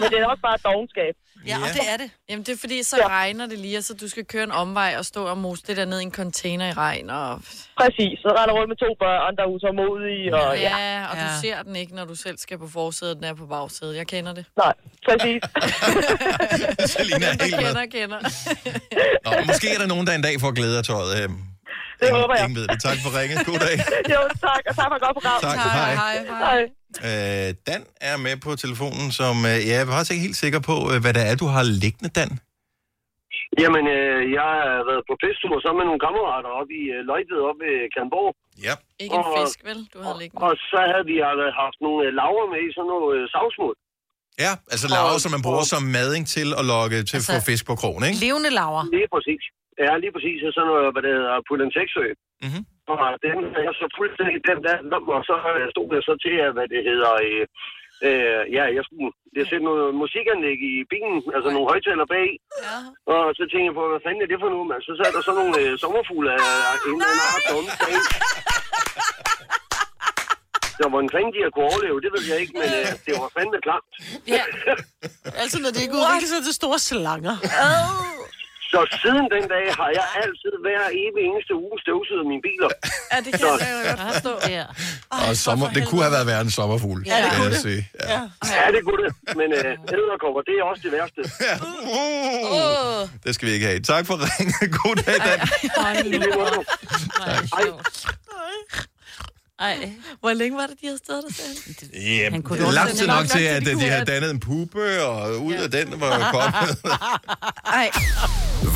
P: Men det er også bare dogenskab.
B: Ja, og det er det.
C: Jamen, det er fordi, så ja. regner det lige, og så du skal køre en omvej og stå og mose det der ned i en container i regn. Og...
P: Præcis, så render rundt med to børn, der er utålmodige. Og, ja.
C: ja, og du ser den ikke, når du selv skal på forsædet, den er på bagsædet. Jeg kender det.
P: Nej,
C: <laughs>
P: præcis.
A: <laughs> Selina er helt med.
C: kender, kender. <laughs>
A: Nå, måske er der nogen, der en dag får glæde af tøjet. Øhm,
P: Det håber jeg.
A: Ingen ved det. Tak for ringet. God dag.
P: <laughs> jo, tak. Og tak for et godt program.
A: Tak, hej. Hej,
P: hej.
A: Øh, Dan er med på telefonen, som øh, jeg er faktisk ikke helt sikker på, øh, hvad det er, du har liggende, Dan.
J: Jamen, øh, jeg har været på fisketur sammen med nogle kammerater oppe i øh, Løjtved oppe ved Kalmborg.
A: Ja.
C: Ikke en fisk, vel? Du havde liggende.
J: Og så havde vi altså haft nogle øh, laver med i sådan noget øh, savsmuld.
A: Ja, altså laver, som man bruger som mading til at lokke til at få fisk på krogen, ikke?
B: Levende laver.
J: Lige præcis. Ja, lige præcis. Og sådan noget, hvad det hedder, pulentexø.
A: Mhm.
J: Og den havde jeg så fuldstændig den der lom, og så øh, stod jeg så til, at, hvad det hedder, øh, øh, ja, jeg skulle jeg sætte noget musikanlæg i bilen, altså nogle højtaler bag.
C: Ja.
J: Og så tænkte jeg på, hvad fanden er det for noget, mand? Så sad der sådan nogle øh, sommerfugle af en eller anden art derude bag. Så hvor en de jeg kunne overleve, det ved jeg ikke, men øh, det var fandme klart.
B: <laughs> Ja. Altså, når det ikke udvikler sig til store slanger.
J: Så siden den dag har jeg altid hver evig eneste uge støvsuget mine biler.
C: Ja, det kan jeg godt forstå.
B: Ja.
A: Og sommer, det kunne have været værre en sommerfugl,
J: Ja, det
A: vil
J: kunne
A: jeg
J: det.
A: sige.
J: Ja. ja, det kunne det. Men øh, æderkopper, det er også det <laughs> værste.
A: Ja.
J: Uh! Oh.
A: Det skal vi ikke have. Tak for ringen. <laughs> God dag, Dan.
E: Ej.
C: Hvor længe var det, de havde stået der selv?
A: Ja,
C: Han kunne
A: det er lang
C: dårligt
A: tid
C: nok
A: nok til,
C: nok til,
A: at
C: de
A: øh, de
C: kunne
A: har
C: have-
A: dannet en puppe, og ud af den var kommet.
C: Ej.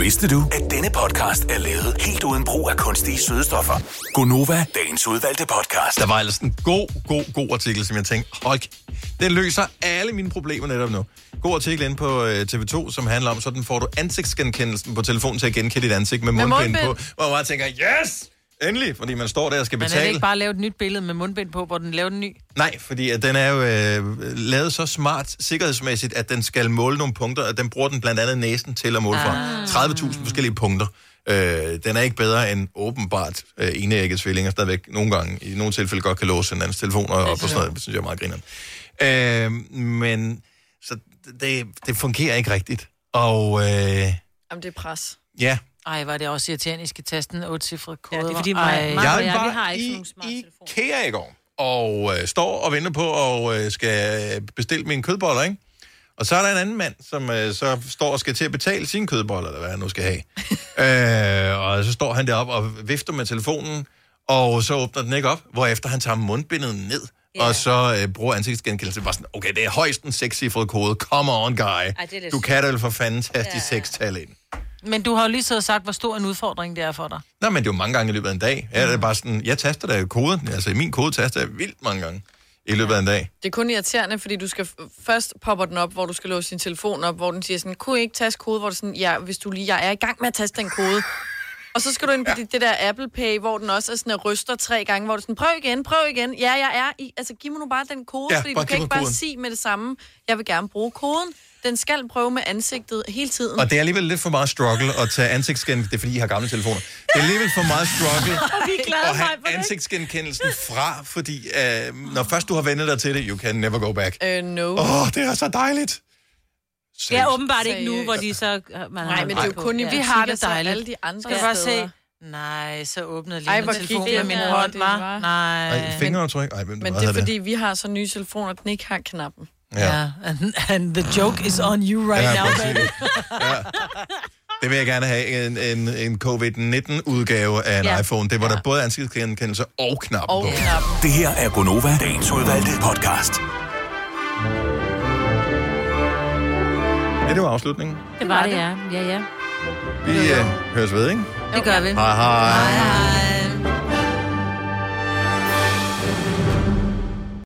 H: Vidste du, at denne podcast er lavet helt uden brug af kunstige sødestoffer?
A: Gonova, dagens udvalgte podcast. Der var ellers en god, god, god artikel, som jeg tænkte, hold, k- den løser alle mine problemer netop nu. God artikel inde på øh, TV2, som handler om, sådan får du ansigtsgenkendelsen på telefonen til at genkende dit ansigt med,
B: Med
A: mundbind,
B: mundbind.
A: på. Hvor man bare tænker, yes! Endelig, fordi man står der og skal
B: Men er det
A: betale.
B: ikke bare at lave et nyt billede med mundbind på, hvor den laver den ny?
A: Nej, fordi at den er jo øh, lavet så smart sikkerhedsmæssigt, at den skal måle nogle punkter, og den bruger den blandt andet næsen til at måle fra. 30.000 forskellige punkter. Øh, den er ikke bedre end åbenbart øh, enægget tvillinger stadigvæk nogle gange, i nogle tilfælde godt kan låse hinandens telefoner op og sådan noget. Det synes jeg er meget grineren. Øh, men så det, det fungerer ikke rigtigt. Og øh,
C: Jamen, det er pres.
A: ja,
B: Ej, var det også irriterende, I skal taste en 8-cifret kode. Ja, det er
E: fordi mig-
B: Ej.
E: mig og
A: Jeg
E: jeg, vi
A: var
E: har ikke sådan nogle
A: IKEA i går, og øh, står og venter på og øh, skal bestille mine kødboller, ikke? Og så er der en anden mand, som øh, så står og skal til at betale sine kødboller, eller hvad han nu skal
B: <laughs>
A: have. øh, og så står han deroppe og vifter med telefonen, og så åbner den ikke op, hvorefter han tager mundbindet ned, og så øh, bruger ansigtsgenkendelse. Bare sådan, okay, det er højst en sekscifret kode. Come on,
B: det
A: guy.
B: er lidt
A: du kan da vel for fanden tage de seks tal ind.
B: Men du har jo lige siddet og sagt, hvor stor en udfordring det er for dig.
A: Nej, men det er jo mange gange i løbet af en dag. Ja, det er
B: Mm.
A: bare sådan, jeg taster da koden. Altså, min kode taster jeg vildt mange gange i løbet af en dag.
C: Det er kun irriterende, fordi du skal f- først popper den op, hvor du skal låse din telefon op, hvor den siger sådan, kunne I ikke taste kode, hvor du sådan, ja, hvis du lige, jeg er i gang med at taste den kode. Og så skal du ind på det, det der Apple Pay, hvor den også er sådan, at ryster tre gange, hvor du sådan, prøv igen, prøv igen. Ja, jeg er i, altså giv mig nu bare den kode,
K: Ja,
C: fordi
K: bare
C: du
K: giv
C: kan ikke
K: mig
C: bare
K: koden.
C: sige med det samme, jeg vil gerne bruge koden. Den skal prøve med ansigtet hele tiden.
A: Og det er alligevel lidt for meget struggle at tage ansigtsgenkendelse. Det er fordi, I har gamle telefoner. Det er alligevel for meget
C: <laughs>
A: struggle
C: Og vi er glade,
A: at
C: Maj,
A: have
C: for det.
A: ansigtsgenkendelsen fra, fordi øh, når først du har vendet dig til det, you can never go back.
C: Øh, no.
A: Åh, oh, det er så dejligt.
E: Det er åbenbart ikke nu, hvor de så... Man har
C: Nej, men det er jo
E: på.
C: kun i
E: Ja.
B: Vi har det dejligt.
C: alle de andre
B: Skal du bare
C: steder.
B: se? Nej, så åbnede
C: Ej,
B: lige
C: hvor
B: min telefon
C: gik
B: med
C: det
B: min
C: ned,
B: hånd,
C: det
B: var.
C: var.
B: Nej.
A: Ej, fingeraftryk. Ej, men,
C: Men det er fordi, vi har så nye telefoner, den ikke har knappen.
A: Ja.
B: <laughs> And, and the joke is on you right
A: Ja,
B: now,
A: præcis.
B: baby.
A: Det vil jeg gerne have, en, en, en covid-19-udgave af en
H: Ja.
A: ja. iPhone. Det var ja. der både ansigtsgenkendelse og knappen
H: Og
A: på.
H: knappen. Det her er Gonova, dagens udvalgte podcast.
A: Ja, det var afslutningen.
E: Det var det, ja. Ja, ja.
A: Vi øh, høres ved, ikke?
E: Det gør vi.
A: Hej hej. hej, hej.